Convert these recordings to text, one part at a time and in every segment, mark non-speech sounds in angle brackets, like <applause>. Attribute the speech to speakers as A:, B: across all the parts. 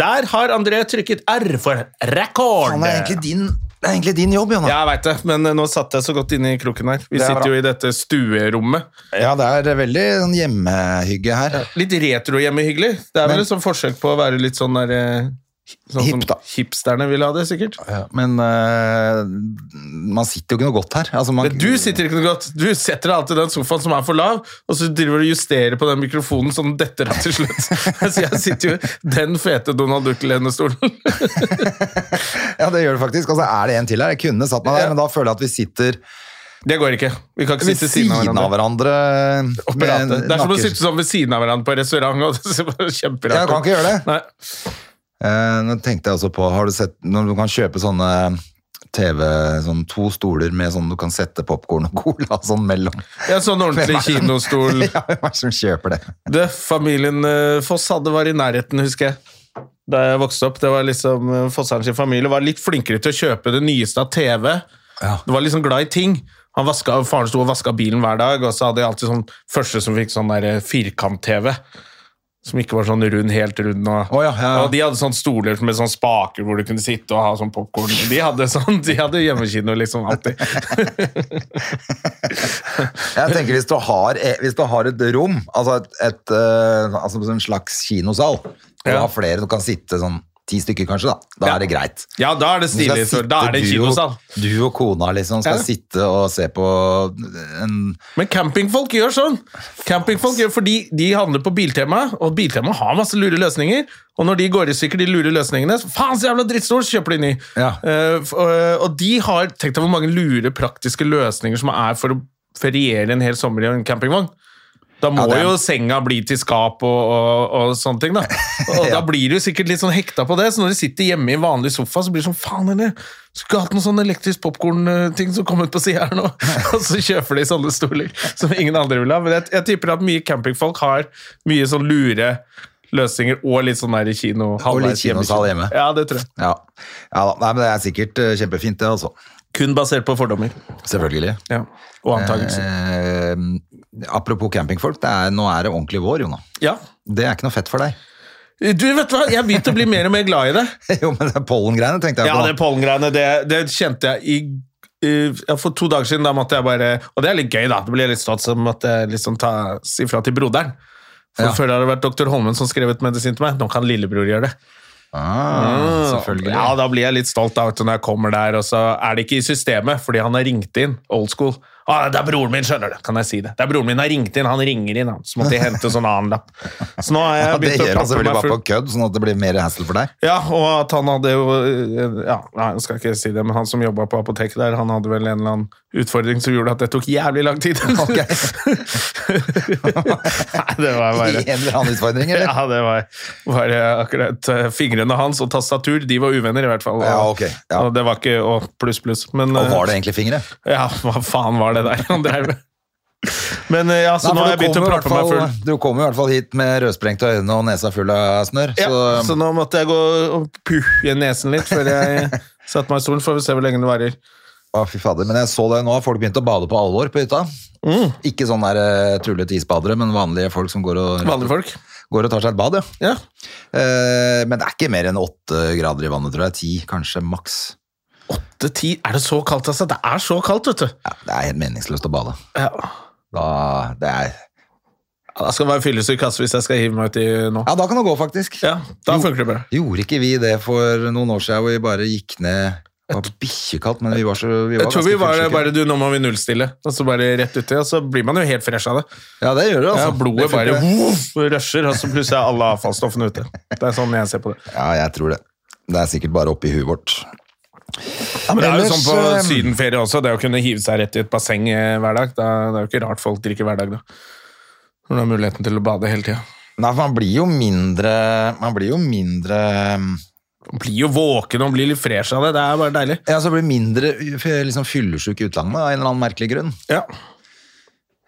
A: Der har André trykket R for record.
B: Han er egentlig din, det er egentlig din jobb, Jonas.
A: Ja, jeg veit det, men eh, nå satt jeg så godt inne i kroken her. Vi
B: Det er
A: sitter
B: bra.
A: jo i dette stuerommet.
B: Ja, det er veldig sånn hjemmehygge her.
A: Litt retro-hjemmehyggelig. Det er vel
B: Men-
A: et sånn forsøk på å være litt sånn der eh, Sånn
B: Hipp, da.
A: som hipsterne vil ha det, sikkert.
B: Ja, Men eh, man sitter jo ikke noe godt her. Altså, man,
A: Men du sitter ikke noe godt. Du setter deg alltid i den sofaen som er for lav, og så driver du og justerer på den mikrofonen så den detter av til slutt. <laughs> Så jeg sitter jo i den fete Donald Duck-lenestolen. <laughs>
B: Ja, det gjør du faktisk. Altså, er det en til her? Jeg kunne satt meg der,
A: Ja.
B: men da føler jeg at vi sitter
A: Det går ikke. Vi kan ikke
B: ved
A: sitte ved siden av hverandre.
B: hverandre.
A: Og prate. Det er som å
B: nakkes-
A: sitte sånn ved siden av hverandre på restaurant. Og <laughs> det er kjemperart.
B: Ja, jeg kan ikke gjøre det.
A: Nei.
B: Eh, nå tenkte jeg også på, har du sett, når du kan kjøpe sånne TV, sånn to stoler med sånn du kan sette popcorn og cola sånn mellom.
A: Jeg er sånn ordentlig kinostol.
B: <laughs> Ja, hvem er det som kjøper det?
A: Det familien eh, Foss hadde var i nærheten, husker jeg. Da jeg vokste opp, det var liksom eh, Fosseren sin familie var litt flinkere til å kjøpe det nyeste av TV. Det var liksom glad i ting. Han vaska, faren sto og vaska bilen hver dag, og så hadde jeg alltid sånn første som fikk sånn der, eh, firkant-TV. Som ikke var sånn rund, helt rund. Og,
B: Å ja, ja, ja.
A: og de hadde sånne stoler med sånn spaker hvor du kunne sitte og ha sånn popkorn. De hadde sånn, de hadde hjemmekino liksom
B: <laughs>
A: alltid.
B: Jeg tenker hvis du har, eh, hvis du har et rom, altså et, et eh, altså en slags kinosal, og
A: Ja.
B: har flere, du kan sitte sånn ti stykker kanskje da, da
A: Ja.
B: er det greit.
A: Ja, da er det
B: Du skal
A: stilig. så Da
B: sitte,
A: er det en
B: du og-
A: kinosal.
B: Du og kona liksom skal
A: Ja.
B: sitte og se på en...
A: Men campingfolk gjør sånn. Campingfolk gjør fordi De handler på Biltema, og Biltema har masse lure løsninger. Og når de går i stykker, de lure løsningene, så faen så jævla drittstol, så kjøper de ny.
B: Ja.
A: Eh, f- og- og de har Tenk deg hvor mange lure praktiske løsninger som er for å feriere en hel sommer i en campingvogn. Da må
B: Ja, det er-
A: jo senga bli til skap og, og, og sånne <laughs> ting, da. Og da blir du sikkert litt sånn hekta på det, så når du sitter hjemme i en vanlig sofa, så blir det sånn faen eller skulle hatt noen sånn elektrisk popkorn-ting som kom ut på sida her <laughs> nå. og så kjøper de sånne stoler som ingen andre vil ha. Men jeg, jeg tipper at mye campingfolk har mye sånn lure løsninger og litt sånn der i kino. halvveis
B: kinosal hjemme.
A: Ja, det tror jeg.
B: Ja, ja da. Nei, men det er sikkert eh, kjempefint det altså.
A: Kun basert på fordommer.
B: Selvfølgelig.
A: Ja. Og antakelser.
B: Eh, apropos campingfolk, det er, nå er det ordentlig vår, Jona.
A: Ja.
B: Det er ikke noe fett for deg. <laughs>
A: Du, vet du hva? Jeg har begynt å bli mer og mer glad i det.
B: jo, men det er pollengreiene, tenkte jeg
A: Ja,
B: på.
A: det pollengreiene, det, det kjente jeg i i- ja, for to dager siden da måtte jeg bare Og det er litt gøy, da. Det blir litt stolt som at jeg liksom ta, si fra til broderen. For
B: Ja.
A: Før det hadde vært doktor Holmen som skrev ut medisin til meg. Nå kan lillebror gjøre det.
B: Ah, selvfølgelig.
A: Mm. Ja, Da blir jeg litt stolt da, vet du, når jeg kommer der, og så er det ikke i systemet fordi han har ringt inn. Old school. Ah, 'Det er broren min, skjønner du.' Kan jeg si det? Det er broren min har ringt inn, han ringer inn, han. Så måtte jeg hente sånn annen lapp. Så nå har
B: Ja,
A: jeg
B: det
A: begynt å
B: gjør han
A: pakke
B: selvfølgelig
A: meg
B: bare
A: full.
B: på kødd, sånn at det blir mer hassle for deg.
A: Ja, og at han hadde jo ja, Nei, jeg skal ikke si det, men han som jobba på apoteket der, han hadde vel en eller annen utfordring som gjorde at det tok jævlig lang tid. <laughs>
B: Ok.
A: nei, det var
B: <laughs> I
A: bare
B: en eller annen utfordring, eller?
A: <laughs> ja, det var bare akkurat eh, fingrene hans og tastatur. De var uvenner, i hvert fall. Og,
B: Ja, ok, ja.
A: og det var ikke og pluss, pluss. Men
B: Og var det egentlig fingre?
A: eh, Ja, hva faen var det der han drev med? Men eh, ja, så nå
B: Nei,
A: har
B: for
A: jeg
B: du
A: begynt
B: kom jo i
A: å
B: hvert
A: proppe meg full.
B: fall- Du kom jo i hvert fall hit med rødsprengte øyne og nesa full av snørr.
A: Ja, så,
B: så, um,
A: nå måtte jeg gå og puhe nesen litt før
B: <laughs>
A: jeg satte meg i stolen. Får vi se hvor lenge det varer.
B: Å, fy fader. Men jeg så det nå, folk begynte å bade på alvor på hytta.
A: Mm,
B: Ikke sånn der eh, tullete isbadere, men vanlige folk som går og,
A: Vanlige folk.
B: går og tar seg et bad, ja.
A: Ja.
B: Eh, men det er ikke mer enn åtte grader i vannet, tror jeg. Ti, kanskje, maks.
A: Det ti, er det så kaldt, altså? Det er så kaldt, vet du.
B: Ja, det er helt meningsløst å bade.
A: Ja.
B: Da, det er,
A: Da skal det være fyllesyk ass, hvis jeg skal hive meg uti nå.
B: ja, da kan det gå, faktisk.
A: Ja, da funker det bra.
B: Gjorde ikke vi det for noen år siden, hvor vi bare gikk ned Det var bikkjekaldt, men vi var så vi var
A: Jeg tror
B: ganske
A: vi var
B: fullsyke.
A: bare du, nå må vi nullstille, og så bare rett uti, og så blir man jo helt fresh av det.
B: Ja, det gjør du, altså.
A: Ja, blodet
B: Det
A: bare
B: funker.
A: woof, rusher, og så plutselig er alle avfallsstoffene ute. Det er sånn jeg ser på det.
B: Ja, jeg tror det. Det er sikkert bare oppi huet vårt.
A: Men det er jo
B: Ellers,
A: sånn på
B: eh,
A: sydenferie også, det å kunne hive seg rett i et basseng eh, hver dag. Da, det er jo ikke rart folk drikker hver dag, da. Når du har muligheten til å bade hele tida.
B: Nei, for man blir jo mindre Man blir jo mindre
A: Man blir jo våken og blir litt fresh av det. Det er bare deilig.
B: Ja, så blir mindre f- liksom fyllesjuk i utlandet av en eller annen merkelig grunn.
A: Ja.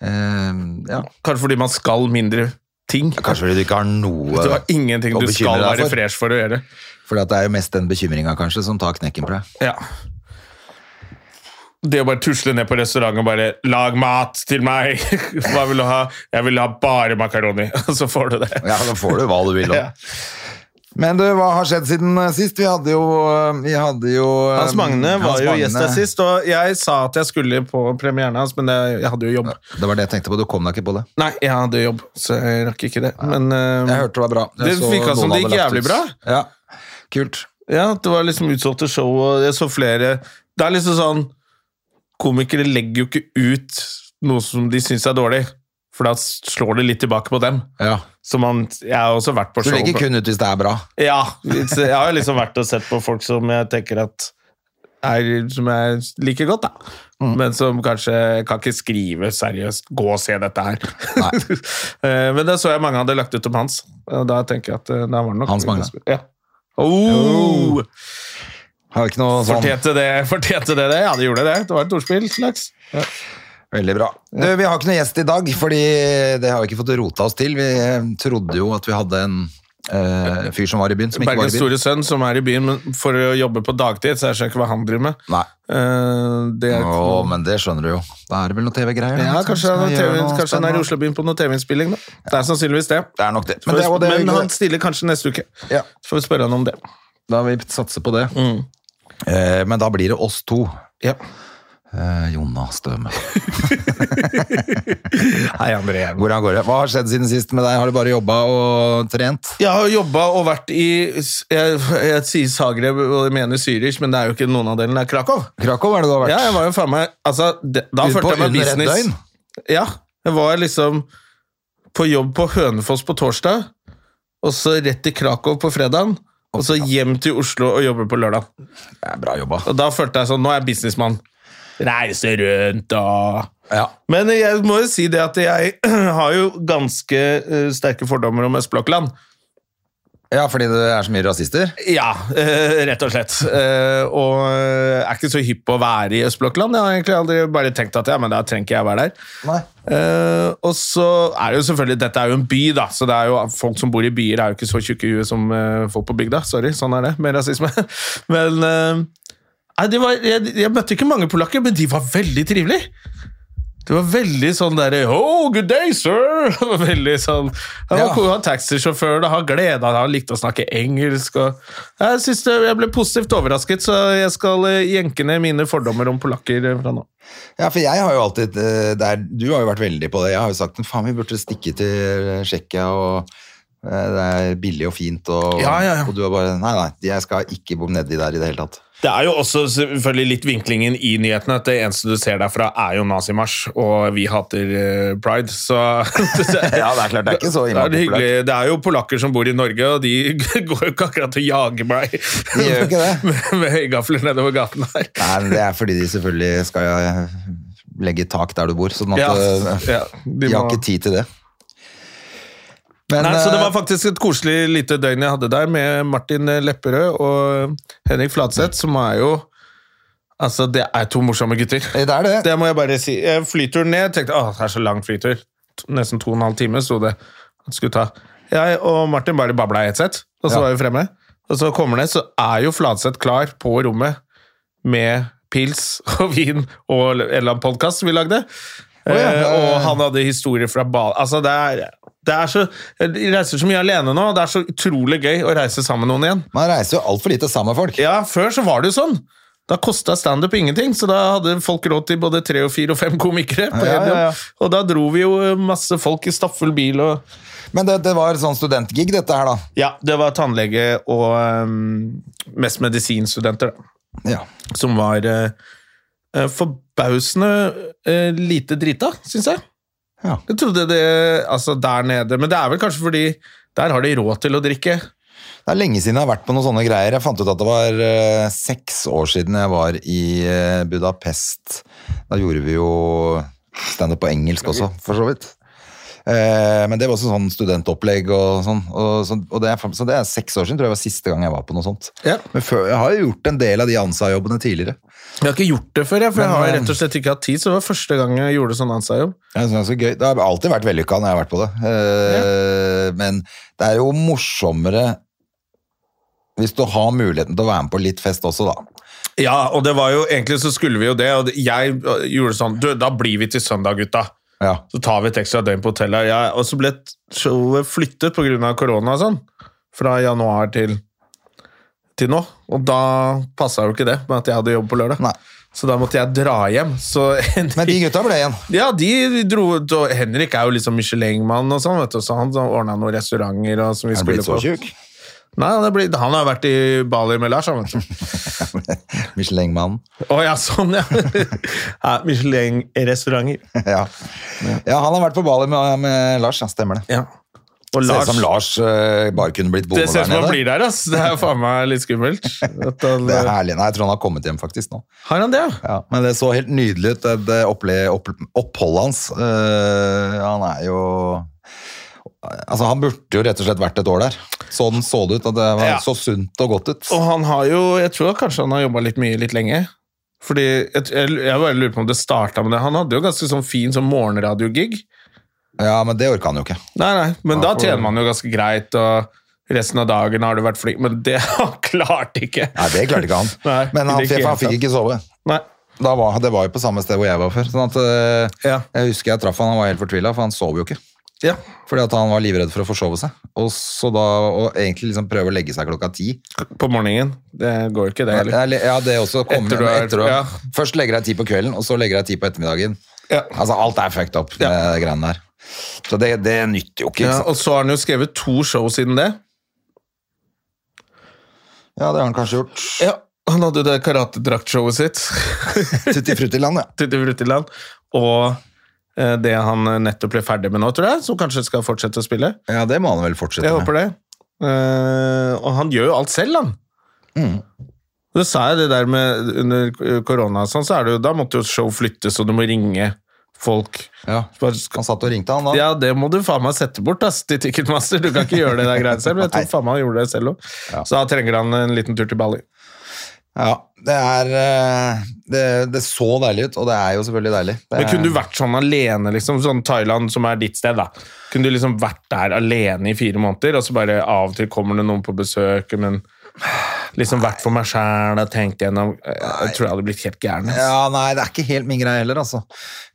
B: Eh, ja.
A: Kanskje fordi man skal mindre ting.
B: Kanskje fordi du ikke har noe
A: Du har ingenting
B: å
A: du
B: bekymre
A: skal
B: deg
A: være
B: for.
A: fresh for å gjøre.
B: Fordi at det er jo mest den bekymringa kanskje som tar knekken på deg.
A: Ja. Det å bare tusle ned på restaurant og bare 'lag mat til meg'. <laughs> Hva vil du ha? Jeg vil ha bare makaroni. <laughs> Og så får du det.
B: <laughs> Ja, da får du hva du vil. da.
A: Ja.
B: Men du, hva har skjedd siden eh, sist? Vi hadde jo, eh, vi hadde jo eh,
A: Hans Magne var
B: Hans
A: jo
B: Magne.
A: gjest der sist, og jeg sa at jeg skulle på premieren hans, men jeg, jeg hadde jo jobb.
B: Det var det jeg tenkte på. Du kom deg ikke på det.
A: Nei, jeg hadde jobb, så jeg rakk ikke det. Men eh,
B: Jeg hørte det var bra. Jeg
A: Det
B: så noen
A: virka som det
B: hadde
A: gikk
B: lagt
A: jævlig
B: ut.
A: bra.
B: Ja, kult.
A: Ja, det var liksom utsolgte show, og jeg så flere Det er liksom sånn Komikere legger jo ikke ut noe som de syns er dårlig, for da slår det litt tilbake på dem.
B: Ja.
A: Så man, jeg har også vært på
B: Du
A: show
B: legger kun ut hvis det er bra.
A: Ja, litt- jeg har liksom vært og sett på folk som jeg tenker at er, som jeg liker godt, da.
B: Mm.
A: Men som kanskje jeg kan ikke skrive seriøst 'gå og se dette her'. <laughs> Eh, Men da så jeg mange hadde lagt ut om hans, og da tenker jeg at eh, da var det nok
B: Hans Magne.
A: Ja. Oh,
B: Har ikke noe sånn
A: fortjente, det, fortjente det det? Ja, det gjorde det. Det var et ordspill. slags. Ja.
B: Veldig bra. Du, vi har ikke noe gjest i dag, fordi det har vi ikke fått rota oss til. Vi eh, trodde jo at vi hadde en eh, fyr som var i byen, som ikke var
A: Bergens
B: i byen.
A: store sønn som er i byen men for å jobbe på dagtid, så jeg skjønner ikke hva han driver med.
B: Nei.
A: Eh, det er
B: Å, men det skjønner du jo. Da er det vel noe TV-greier?
A: Ja,
B: da, liksom, som
A: kanskje han,
B: skal
A: er
B: gjøre
A: TV,
B: noe
A: kanskje han er i
B: spennende.
A: Oslobyen på noe TV-innspilling. da. Det er sannsynligvis det.
B: Det er nok det.
A: Men,
B: Men, det, er jo det, vi-
A: han stiller kanskje neste uke.
B: Ja.
A: Så får vi spørre han om det.
B: da vi satser på det.
A: Mm.
B: Eh, men da blir det oss to.
A: Ja.
B: Eh, Jonna Støme.
A: <laughs> Hei, André.
B: Hvordan går det? Hva har skjedd siden sist med deg? Har du bare jobba og trent?
A: Jeg har jobba og vært i s- jeg, jeg sier Zagreb og jeg mener Zürich, men det er jo ikke noen av delene. Det er Krakow.
B: Krakow er det du har vært?
A: Ja, jeg var jo faen meg altså, det, Da
B: Ut på
A: følte jeg meg
B: under et
A: business.
B: døgn?
A: Ja. Jeg var liksom på jobb på Hønefoss på torsdag, og så rett til Krakow på fredag, og så hjem til Oslo og jobbe på lørdag.
B: Det er bra jobba.
A: Og da følte jeg sånn, nå er jeg businessmann. Reise rundt og...
B: Ja.
A: Men jeg må jo si det at jeg <clears throat> har jo ganske eh, sterke fordommer om Østblokkland.
B: ja, fordi det er så mye rasister?
A: Ja, eh, rett og slett. Eh, og eh, er ikke så hypp på å være i Østblokkland. Jeg har egentlig aldri bare tenkt at ja, men da trenger ikke jeg være der.
B: Nei.
A: Eh, og så er det jo selvfølgelig, dette er jo en by da, så det er jo, folk som bor i byer er jo ikke så tjukke i huet som eh, folk på bygda, sorry, sånn er det, med rasisme. <laughs> men eh, nei, de var, jeg, jeg møtte ikke mange polakker, men de var veldig trivelige. Det var veldig sånn der, oh, good day, sir! <laughs> Det var veldig sånn, han var
B: Ja.
A: ko- han taxisjåfør, da, han gledet, han likte å snakke engelsk. Og, jeg synes det, jeg ble positivt overrasket, så jeg skal eh, jenke ned mine fordommer om polakker eh, fra nå.
B: Ja, for jeg har jo alltid eh, det er- Du har jo vært veldig på det. Jeg har jo sagt men faen, vi burde stikke til Tsjekkia, og eh, det er billig og fint, og,
A: Ja, ja, ja.
B: og du har bare Nei, nei, jeg skal ikke bo nedi der i det hele tatt.
A: Det er jo også selvfølgelig litt vinklingen i nyhetene at det eneste du ser derfra, er jo nazimarsj, og vi hater eh, pride, så
B: <laughs> Ja, det er klart, det er ikke
A: <laughs>
B: så
A: det, er det,
B: innmari
A: hyggelig. det er jo polakker som bor i Norge, og de <laughs> går jo ikke akkurat og jager meg
B: De gjør jo ikke det.
A: <laughs> med, med høygafler nedover gaten her.
B: Nei, men det er fordi de selvfølgelig skal eh, legge tak der du bor, sånn at
A: Ja,
B: eh,
A: ja, de
B: de, har
A: må-
B: ikke tid til det. Men,
A: Nei, så Det
B: eh,
A: var faktisk et koselig lite døgn jeg hadde der med Martin Lepperød og Henrik Fladseth, som er jo Altså, det er to morsomme gutter.
B: det er det.
A: Det må jeg bare si. Eh, Flyturen ned, tenkte jeg, det er så lang flytur. To- Nesten to og en halv time sto det at det skulle ta. Jeg og Martin bare babla i ett sett, og så
B: Ja.
A: var vi fremme. Og så kommer det, så er jo Fladseth klar på rommet med pils <laughs> og vin og en eller annen podkast vi lagde.
B: ja.
A: Eh, og han hadde historier fra ball... Altså, det er, det er så Jeg reiser så mye alene nå, og det er så utrolig gøy å reise sammen med noen igjen.
B: Man reiser jo altfor lite sammen med folk.
A: Ja, før så var det jo sånn. Da kosta standup ingenting, så da hadde folk råd til både tre og fire og fem komikere. På
B: Ja, ja,
A: en
B: ja.
A: jobb. Og da dro vi jo eh, masse folk i stappfull bil og
B: Men det, det var sånn studentgig, dette her, da.
A: Ja, det var tannlege og ehm, mest medisinstudenter, da.
B: Ja.
A: Som var eh, eh, forbausende eh, lite drita, syns jeg.
B: Ja.
A: Jeg trodde det Altså, der nede Men det er vel kanskje fordi der har de råd til å drikke.
B: Det er lenge siden jeg har vært på noen sånne greier. Jeg fant ut at det var eh, seks år siden jeg var i eh, Budapest. Da gjorde vi jo standup på engelsk også, for så vidt. Eh, men det var også sånn studentopplegg og sånn. Og, så, og det er, så det er seks år siden, tror jeg var siste gang jeg var på noe sånt.
A: Ja.
B: Men før, jeg har jo gjort en del av de ANSA-jobbene tidligere.
A: Jeg har ikke gjort det før, jeg, for jeg
B: Men,
A: har
B: eh,
A: rett og slett ikke hatt tid. Så det var første gang jeg gjorde sånn ANSA-jobb.
B: Jeg synes Det, er så gøy. det har alltid vært vellykka når jeg har vært på det. Eh, Men det er jo morsommere hvis du har muligheten til å være med på litt fest også, da.
A: Ja, og det var jo egentlig så skulle vi jo det, og det- jeg øh, gjorde sånn Du, da blir vi til søndag, gutta.
B: Ja.
A: Så tar vi et ekstra døgn på hotellet. Ja, og så ble showet flyttet pga. korona og sånn. Fra januar til, til nå. Og da passa jo ikke det med at jeg hadde jobb på lørdag.
B: Nei.
A: Så da måtte jeg dra hjem. Så <laughs>
B: Men de gutta ble igjen.
A: Ja, de dro og Henrik er jo liksom Michelin-mann og sånn, vet du, så han ordna noen restauranter og som vi
B: Er du
A: skulle
B: blitt så
A: på.
B: tjukk?
A: Nei, han, er blitt, han har vært i Bali med Lars, han, vet du.
B: <laughs> Michelin-mannen. <laughs>
A: Å ja, sånn, ja. ja Michelin-restauranter.
B: Ja. ja, han har vært på Bali med, med Lars, ja, stemmer det.
A: Ja.
B: Ser
A: Og
B: ut
A: Lars,
B: som Lars eh, bare kunne blitt
A: Det
B: boende
A: ser ut
B: der
A: som han
B: nede.
A: blir der, ass. Det er faen meg litt skummelt. At han, eh,
B: Det er herlig. Nei, jeg tror han har kommet hjem faktisk nå.
A: har han det, ja?
B: Ja, men det så helt nydelig ut, det, det opple, opp, oppholdet hans. Eh, han er jo Altså, han burde jo rett og slett vært et år der. Sånn så det ut. At det var
A: Ja.
B: så sunt og godt ut.
A: Og han har jo Jeg tror kanskje han har jobba litt mye litt lenge. Fordi jeg, jeg, jeg bare lurer på om det starta med det. Han hadde jo ganske sånn fin sånn morgenradiogig.
B: Ja, men det orker han jo ikke.
A: Nei, nei, men da tjener man jo ganske greit, og resten av dagen har du vært flink, men det <laughs> han klarte ikke.
B: Nei, det klarte ikke han.
A: <laughs> Nei,
B: men
A: det
B: han,
A: er ikke
B: han
A: helt
B: fikk ikke sove.
A: Nei.
B: Da var, det var jo på samme sted hvor jeg var før. Sånn at, eh,
A: Ja.
B: Jeg husker jeg traff han, han var helt fortvila, for han sov jo ikke.
A: Ja.
B: Fordi at han var livredd for å forsove seg. Og så da, og egentlig liksom prøve å legge seg klokka ti.
A: På morgenen. Det går jo ikke, det heller.
B: Eller- Ja, det også kommer
A: Etter du er-
B: etter å-
A: ja.
B: Først legger jeg ti på kvelden, og så legger jeg ti på ettermiddagen.
A: Ja.
B: Altså, alt er fucked up med de greiene der. Så det, det nytter jo ikke.
A: Ja,
B: ikke sant?
A: og så har han jo skrevet to show siden det.
B: ja, det har han kanskje gjort.
A: Ja. Han hadde jo det karatedraktshowet sitt, <laughs>
B: Tutti frutti land, ja.
A: Tutti Frutti Land, og eh, det han nettopp ble ferdig med nå, tror jeg, som kanskje skal fortsette å spille.
B: Ja, det må han vel fortsette
A: Jeg
B: med.
A: håper det. Eh, og han gjør jo alt selv, han. Mm. Da sa jeg det der med under korona, og sånn, så er det jo, da måtte jo show flyttes, og du må ringe folk.
B: Ja.
A: Bare skal-
B: Han satt og ringte, han da.
A: Ja, det må du faen meg sette bort ass, til Ticketmaster. Du kan ikke gjøre det der greiene selv. men Jeg tror
B: Nei.
A: faen meg han gjorde det selv òg. Så da trenger han en liten tur til Bali.
B: Ja, det er eh, det, det så deilig ut, og det er jo selvfølgelig deilig. Det
A: Men
B: er-
A: kunne du vært sånn alene, liksom? Sånn Thailand, som er ditt sted, da. Kunne du liksom vært der alene i fire måneder, og så bare av og til kommer det noen på besøk, men liksom vært for meg sjæl og tenkt gjennom Jeg, jeg tror jeg hadde blitt helt gæren. ass.
B: Ja, nei, det er ikke helt min greie heller, altså.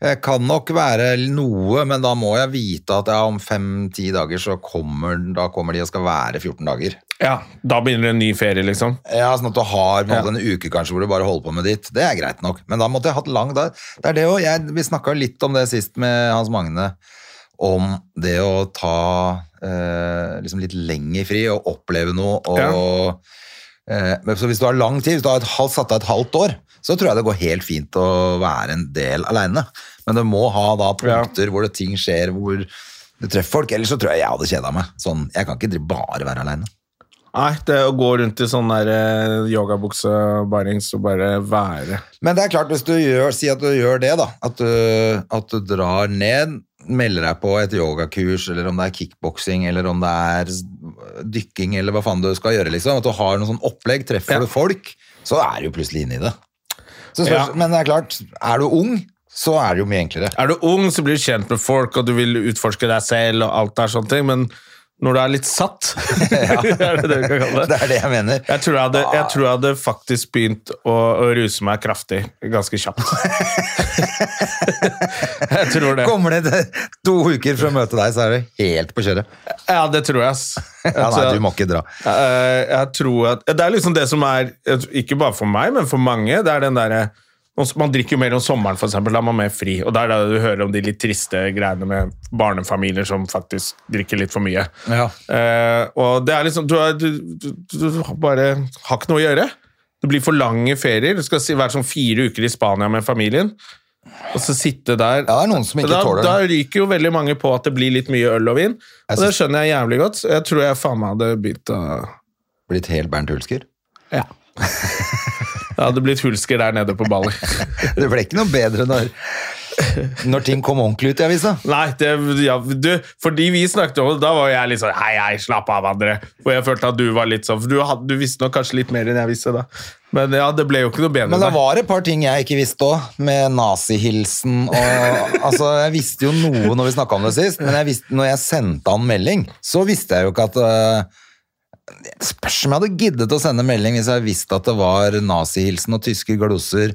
B: Jeg kan nok være noe, men da må jeg vite at ja, om fem-ti dager så kommer, da kommer de og skal være 14 dager.
A: Ja, da begynner det en ny ferie, liksom.
B: Ja, sånn at du har på en måte en uke kanskje hvor du bare holder på med ditt. Det er greit nok. Men da måtte jeg hatt lang dag. Det er det jo, jeg, vi snakka litt om det sist med Hans Magne, om det å ta eh, liksom litt lenger fri og oppleve noe. Og, eh, men så hvis du har lang tid, hvis du har et, halvt- satt av et halvt år, så tror jeg det går helt fint å være en del aleine. Men du må ha da punkter hvor det ting skjer, hvor du treffer folk. Ellers så tror jeg jeg hadde kjeda meg. Sånn, jeg kan ikke drive- bare være aleine.
A: Nei, det å gå rundt i sånn der eh, yogabukse og barings og bare være
B: Men det er klart, hvis du gjør, si at du gjør det, da, at du, at du drar ned, melder deg på et yogakurs, eller om det er kickboksing, eller om det er s- dykking, eller hva faen du skal gjøre, liksom. At du har noe sånn opplegg, treffer
A: Ja.
B: du folk, så er du jo plutselig inne i det. Så spørs,
A: Ja.
B: Men det er klart, er du ung, så er det jo mye enklere.
A: Er du ung, så blir du kjent med folk, og du vil utforske deg selv, og alt der sånne ting, men når du er litt satt <laughs> Er det det vi kan kalle
B: <laughs>
A: det?
B: Det er det jeg mener.
A: Jeg tror jeg, hadde, jeg tror jeg hadde faktisk begynt å, å ruse meg kraftig ganske
B: <laughs>
A: kjapt. jeg tror det.
B: Kommer det til to uker for å møte deg, så er du helt på kjøret.
A: Ja, det tror jeg, ass. Jeg
B: Ja, nei,
A: tror-
B: du må ikke dra.
A: Eh, jeg tror at Det er liksom det som er Ikke bare for meg, men for mange. Det er den derre man drikker jo mer om sommeren, for eksempel. Da er man mer fri. Og det er da du hører om de litt triste greiene med barnefamilier som faktisk drikker litt for mye.
B: Ja.
A: Eh, og det er liksom du, er, du, du, du bare har ikke noe å gjøre. Det blir for lange ferier. Du skal si, være sånn fire uker i Spania med familien. Og så sitte der
B: Ja, det er noen som ikke
A: da,
B: tåler
A: da
B: det.
A: ryker jo veldig mange på at det blir litt mye øl og vin. Og det
B: synes-
A: skjønner jeg jævlig godt. så Jeg tror jeg faen meg hadde begynt å
B: Blitt helt Bernt Hulsker.
A: Ja.
B: <laughs>
A: Det hadde blitt hulsker der nede på Bali.
B: Det ble ikke noe bedre når <laughs> Når ting kom ordentlig ut i avisa.
A: Nei, det, ja, du, fordi vi snakket om det, da var jeg litt sånn Hei, hei, slapp av, André. For jeg følte at du var litt sånn For du, hadde- du visste nok kanskje litt mer enn jeg visste da. Men ja, det ble jo ikke noe bedre.
B: Men det
A: nei.
B: var et par ting jeg ikke visste òg, med nazihilsen og Altså, jeg visste jo noe når vi snakka om det sist, men jeg visste, når jeg sendte han melding, så visste jeg jo ikke at øh, det Spørs om jeg hadde giddet å sende melding hvis jeg visste at det var nazihilsen og tyske gloser,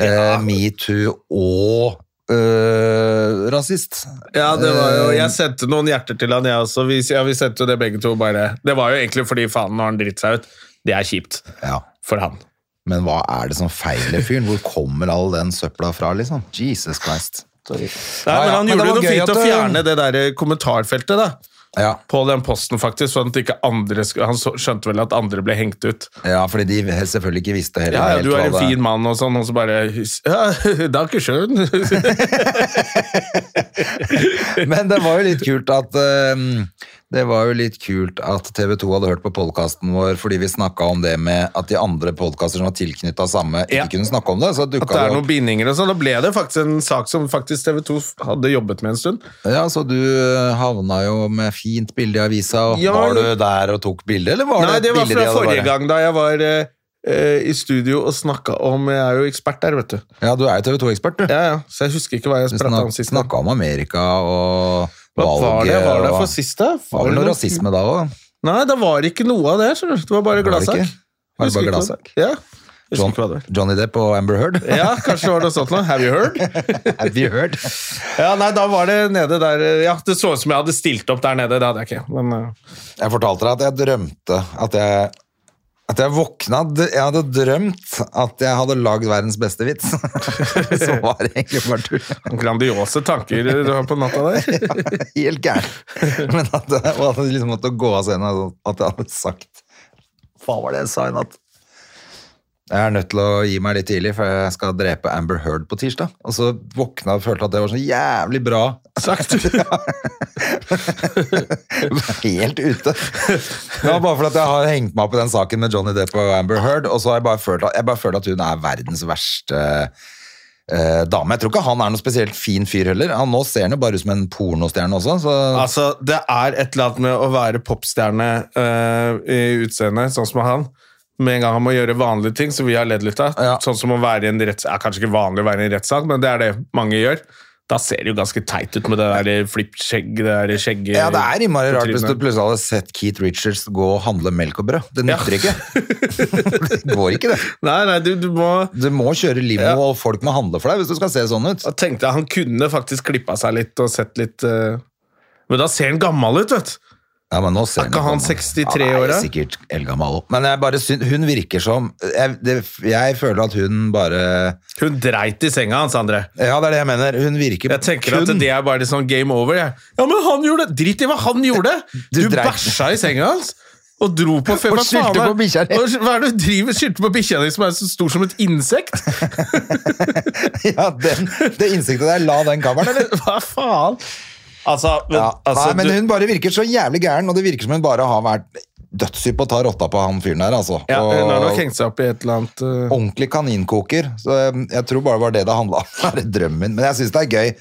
B: eh, metoo og øh, rasist.
A: Ja, det var
B: Eh.
A: jo, jeg sendte noen hjerter til han, jeg også. Vi, ja, vi sendte jo det begge to. bare. Det var jo egentlig fordi faen, nå har han dritt seg ut. Det er kjipt
B: Ja.
A: for han.
B: Men hva er det som feiler fyren? Hvor kommer all den søpla fra, liksom? Jesus Christ.
A: Nei,
B: Ja,
A: men
B: ja, men
A: han
B: det
A: gjorde
B: var
A: noe
B: gøy
A: fint
B: at
A: å
B: det-
A: fjerne det der eh, kommentarfeltet da,
B: Ja.
A: på den posten, faktisk. Sånn at ikke andre sk- Han så- skjønte vel at andre ble hengt ut.
B: ja, fordi de selvfølgelig ikke visste heller
A: Ja, ja,
B: helt
A: du
B: hva
A: er en
B: det-
A: fin mann og sånn, og så bare <laughs> ja, Danke schön.
B: <laughs> Men det var jo litt kult at ehm, det var jo litt kult at TV 2 hadde hørt på podkasten vår fordi vi snakka om det med at de andre podkaster som var tilknytta samme, ikke
A: Ja.
B: kunne snakke om det. Så
A: <laughs> At det
B: dukka
A: er
B: det
A: noen
B: opp.
A: bindinger og sånn. Da ble det faktisk en sak som faktisk TV 2 hadde jobbet med en stund.
B: Ja, så du havna jo med fint bilde i avisa. Og
A: Ja,
B: var du
A: men-
B: der og tok bilde, eller var
A: Nei,
B: det
A: det
B: et
A: var
B: bilde de
A: fra
B: hadde
A: forrige
B: bare-
A: gang da jeg var eh, eh, i studio og snakka om Jeg er jo ekspert der, vet du.
B: Ja, du er jo TV 2-ekspert, du.
A: Ja, ja, Så jeg husker ikke hva jeg
B: Du
A: prata om
B: snak,
A: sist.
B: snakka om Amerika og
A: Hva
B: valget.
A: var det, var det
B: og-
A: for sist, da?
B: var vel
A: det
B: noe
A: noe-
B: rasisme da òg.
A: Nei, det var ikke noe av det. skjønner du. Det var
B: Var
A: bare
B: det
A: gladsak.
B: ikke? Var det
A: Husker
B: bare
A: ikke hva
B: gladsak?
A: det- Ja. Husker
B: John,
A: ikke hva det var.
B: Johnny Depp og Amber Heard.
A: <laughs> Ja, kanskje var det noe sånt noe. Have you heard?
B: Have you heard?
A: Ja, nei, da var det nede der eh, Ja, det så ut som jeg hadde stilt opp der nede. Det hadde jeg ikke. Men eh,
B: Jeg fortalte deg at jeg drømte at jeg at jeg våkna Jeg hadde drømt at jeg hadde lagd verdens beste vits. <laughs> Så var det egentlig bare tull.
A: <laughs> grandiose tanker du har på natta
B: <laughs>
A: der.
B: Helt gæren. Men at jeg og at jeg liksom måtte gå av scenen og at jeg hadde sagt Hva var det jeg sa i natt? Jeg er nødt til å gi meg litt tidlig, for jeg skal drepe Amber Heard på tirsdag. Og så våkna jeg og følte at det var så jævlig bra.
A: Sagt.
B: Helt ute. Det var bare fordi at jeg har hengt meg opp i den saken med Johnny Depp og Amber Heard, og så har jeg bare følt at, jeg bare følt at hun er verdens verste eh, dame. Jeg tror ikke han er noen spesielt fin fyr heller. Han, nå ser han jo bare ut som en pornostjerne også, så
A: Altså, det er et eller annet med å være popstjerne eh, i utseendet, sånn som han. Med en gang han må gjøre vanlige ting, som vi har ledd litt av.
B: Ja.
A: Sånn som å være i en retts... Ja, kanskje ikke vanlig å være i en rettssak, men det er det mange gjør. Da ser det jo ganske teit ut med det der flippskjegg, det der skjegget
B: ja, det er innmari rart hvis du
A: trynet.
B: plutselig hadde sett Keith Richards gå og handle melk og brød. Det nytter <laughs> ikke. det går ikke, det.
A: Nei, nei, du, du må
B: Du må kjøre limo,
A: Ja.
B: og folk må handle for deg hvis du skal se sånn ut.
A: Da tenkte jeg han kunne faktisk klippa seg litt og sett litt eh, Men da ser han gammel ut, vet du.
B: Ja, men nå ser
A: Er ikke
B: jeg
A: han
B: på
A: 63
B: Han
A: år, da?
B: er sikkert eldgammel også. Men jeg bare syn- hun virker som jeg, det, jeg føler at hun bare
A: Hun dreit i senga hans, André.
B: Ja, det er det jeg mener. Hun virker
A: Jeg tenker at det er bare litt sånn game over. Jeg. Ja, men han gjorde det! Drit i hva han gjorde!
B: <laughs>
A: Du,
B: Du dreit-
A: bæsja i senga hans! Og dro på fem
B: Og skyldte på bikkja di.
A: Hva er det du driver skyldte på bikkja di, som er så stor som et
B: <laughs>
A: insekt?
B: <laughs> ja, den, Det innsiktet der, la den kammeren, eller?
A: Hva faen? Altså, men,
B: Ja.
A: altså
B: Nei, men
A: du,
B: hun bare virker så jævlig gæren, og det virker som hun bare har vært dødshypp på å ta rotta på han fyren der, altså.
A: ja, Hun har nok
B: og
A: hengt seg opp i et eller annet eh,
B: ordentlig kaninkoker. Så um, jeg tror bare det var det det handla om. <laughs> Det er drømmen. Men jeg syns det er gøy.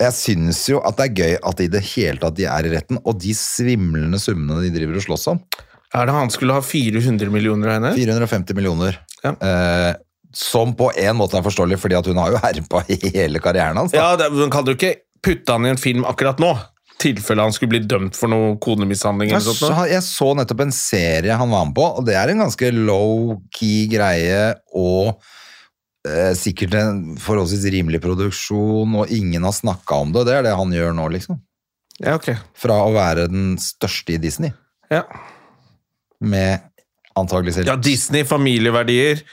B: Jeg syns jo at det er gøy at i det hele tatt de er i retten, og de svimlende summene de driver og slåss om.
A: Er det han skulle ha 400 millioner av henne?
B: 450 millioner.
A: Ja.
B: Eh, som på en måte er forståelig, fordi at hun har jo <laughs> herpa i hele karrieren hans. Da.
A: Ja, det, Hun kan jo ikke putte han i en film akkurat nå. tilfelle han skulle bli dømt for noe konemishandling.
B: Jeg
A: eller sånt
B: så,
A: noe.
B: jeg så nettopp en serie han var med på, og det er en ganske low-key greie, og eh, sikkert en forholdsvis rimelig produksjon, og ingen har snakka om det, og det er det han gjør nå, liksom.
A: Ja, ok.
B: Fra å være den største i Disney,
A: Ja.
B: med antagelig selv.
A: ja, Disney, familieverdier.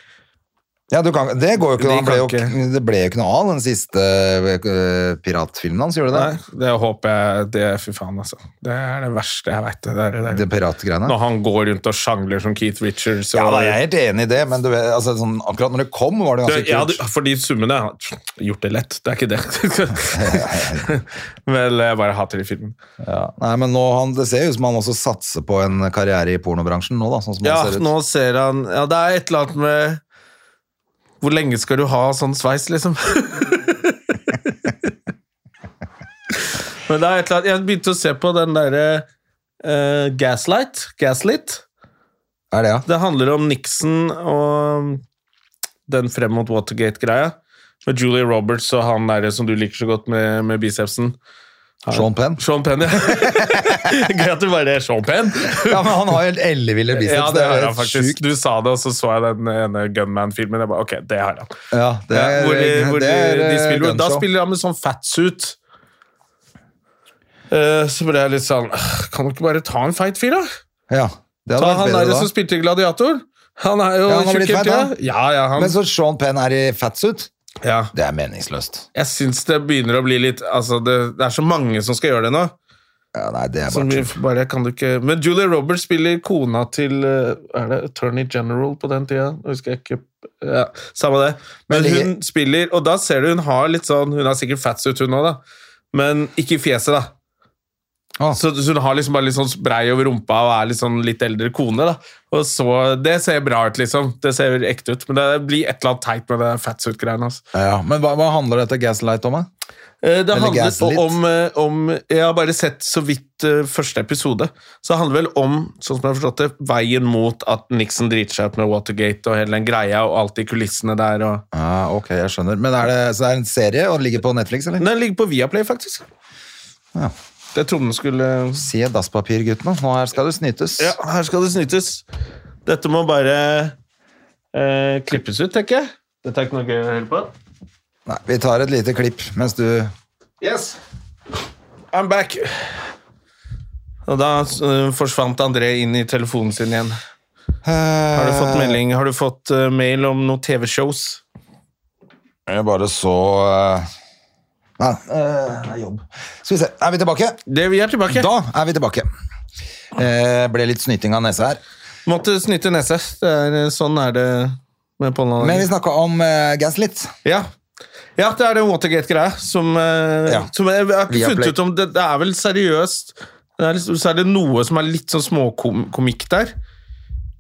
B: Ja, du kan, det går jo ikke,
A: De
B: han ble jo,
A: kan ikke-
B: det ble jo ikke noe av den siste eh, piratfilmen hans, gjorde det det?
A: Nei, det håper jeg det, Fy faen, altså. Det er det verste jeg veit. Det der- det
B: Det
A: der.
B: piratgreiene?
A: Når han går rundt og sjangler som Keith Richards. Og,
B: Ja, da, jeg er helt enig i det, men du, vet, altså, sånn, akkurat når det kom, var det
A: Du,
B: ganske
A: ja, du,
B: kult.
A: for de summene jeg har Gjort det lett, det er ikke det. <laughs> Vel, jeg bare hater de filmene.
B: Ja. Nei, men nå, han, Det ser jo ut som han også satser på en karriere i pornobransjen nå, da. Sånn som
A: Ja,
B: han ser ut.
A: nå ser han Ja, det er et eller annet med Hvor lenge skal du ha sånn sveis, liksom? <laughs> Men det er et eller annet, jeg begynte å se på den derre eh, Gaslight. Gaslit.
B: Er det, ja?
A: Det handler om Nixon og den frem mot Watergate-greia. Med Julie Roberts og han derre som du liker så godt med, med bicepsen.
B: Sean
A: <laughs>
B: Penn?
A: Sean Penn, ja. Gøy at du bare er Sean Penn.
B: Ja, men han har jo helt elleville biceps.
A: Ja, det har han faktisk.
B: sjukt.
A: Du sa det, og så så jeg den ene Gunman-filmen. Jeg bare, ok, det har han.
B: Ja, det er,
A: Ja, hvor de, hvor
B: det
A: de,
B: er,
A: de
B: eh,
A: spiller, da
B: gunshow.
A: spiller han med sånn fatsuit. Eh, så ble jeg litt sånn «Åh, Kan du ikke bare ta en feit fyr, da?
B: Ja, det
A: Ta
B: hadde
A: han
B: vært
A: der
B: bedre
A: som
B: da.
A: spilte i Gladiator. Han er jo
B: Ja, han har
A: tjukk
B: blitt
A: hele
B: feit,
A: tida.
B: han.
A: Ja, ja, han,
B: Men så Sean Penn er i fatsuit?
A: ja.
B: Det er meningsløst.
A: Jeg syns det begynner å bli litt altså det, det er så mange som skal gjøre det nå.
B: Ja, nei, det er
A: Som vi
B: bare
A: bare kan du ikke Men Julie Roberts spiller kona til eh, Er det Attorney General på den tida? Nå Husker jeg ikke ja, Samme det. Men
B: Men det-
A: hun spiller Og da ser du hun har litt sånn Hun har sikkert fats ut, hun òg, da. Men ikke i fjeset, da.
B: Ah.
A: Så, så hun har liksom bare litt sånn brei over rumpa og er litt sånn litt eldre kone. da Og så, Det ser bra ut, liksom. Det ser ekte ut. Men det blir et eller annet teit med det fatsuit-greiene. Altså.
B: ja, ja. Men hva, hva handler dette Gaslight om, da?
A: Eh, Det
B: Eller
A: handlet
B: gaslight.
A: om, eh, om Jeg har bare sett så vidt eh, første episode. Så det handler vel om sånn som jeg har forstått det, veien mot at Nixon driter seg ut med Watergate og hele den greia og alt de kulissene der. Og...
B: Ja, Ah, ok, jeg skjønner. Men er det, så det er en serie, og den ligger på Netflix, eller?
A: Den ligger på Viaplay, faktisk.
B: Ja.
A: Jeg trodde den skulle
B: Se dasspapir, guttene. Nå her skal det snytes.
A: Ja, her skal det snytes. Dette må bare eh, klippes ut, tenker jeg. Dette er ikke noe gøy å høre på.
B: Nei, vi tar et lite klipp mens du
A: Yes, I'm back. Og da eh, forsvant André inn i telefonen sin igjen. Har du fått melding? Har du fått eh, mail om noen TV-shows?
B: Jeg bare så eh, Nei, eh, det er jobb. Skal vi se. Er vi tilbake?
A: Det, vi er tilbake.
B: Da er vi tilbake. Eh, ble litt snyting av nese her.
A: Måtte snyte nese. Det er, eh, sånn er det med pollen.
B: Men vi snakka om eh, Gaslit.
A: Ja. ja, det er den Watergate-greia som, eh,
B: Ja.
A: som jeg, jeg har ikke
B: Via
A: funnet
B: Play.
A: ut om det, det er vel seriøst det er liksom, Så er det noe som er litt sånn småkomikk der.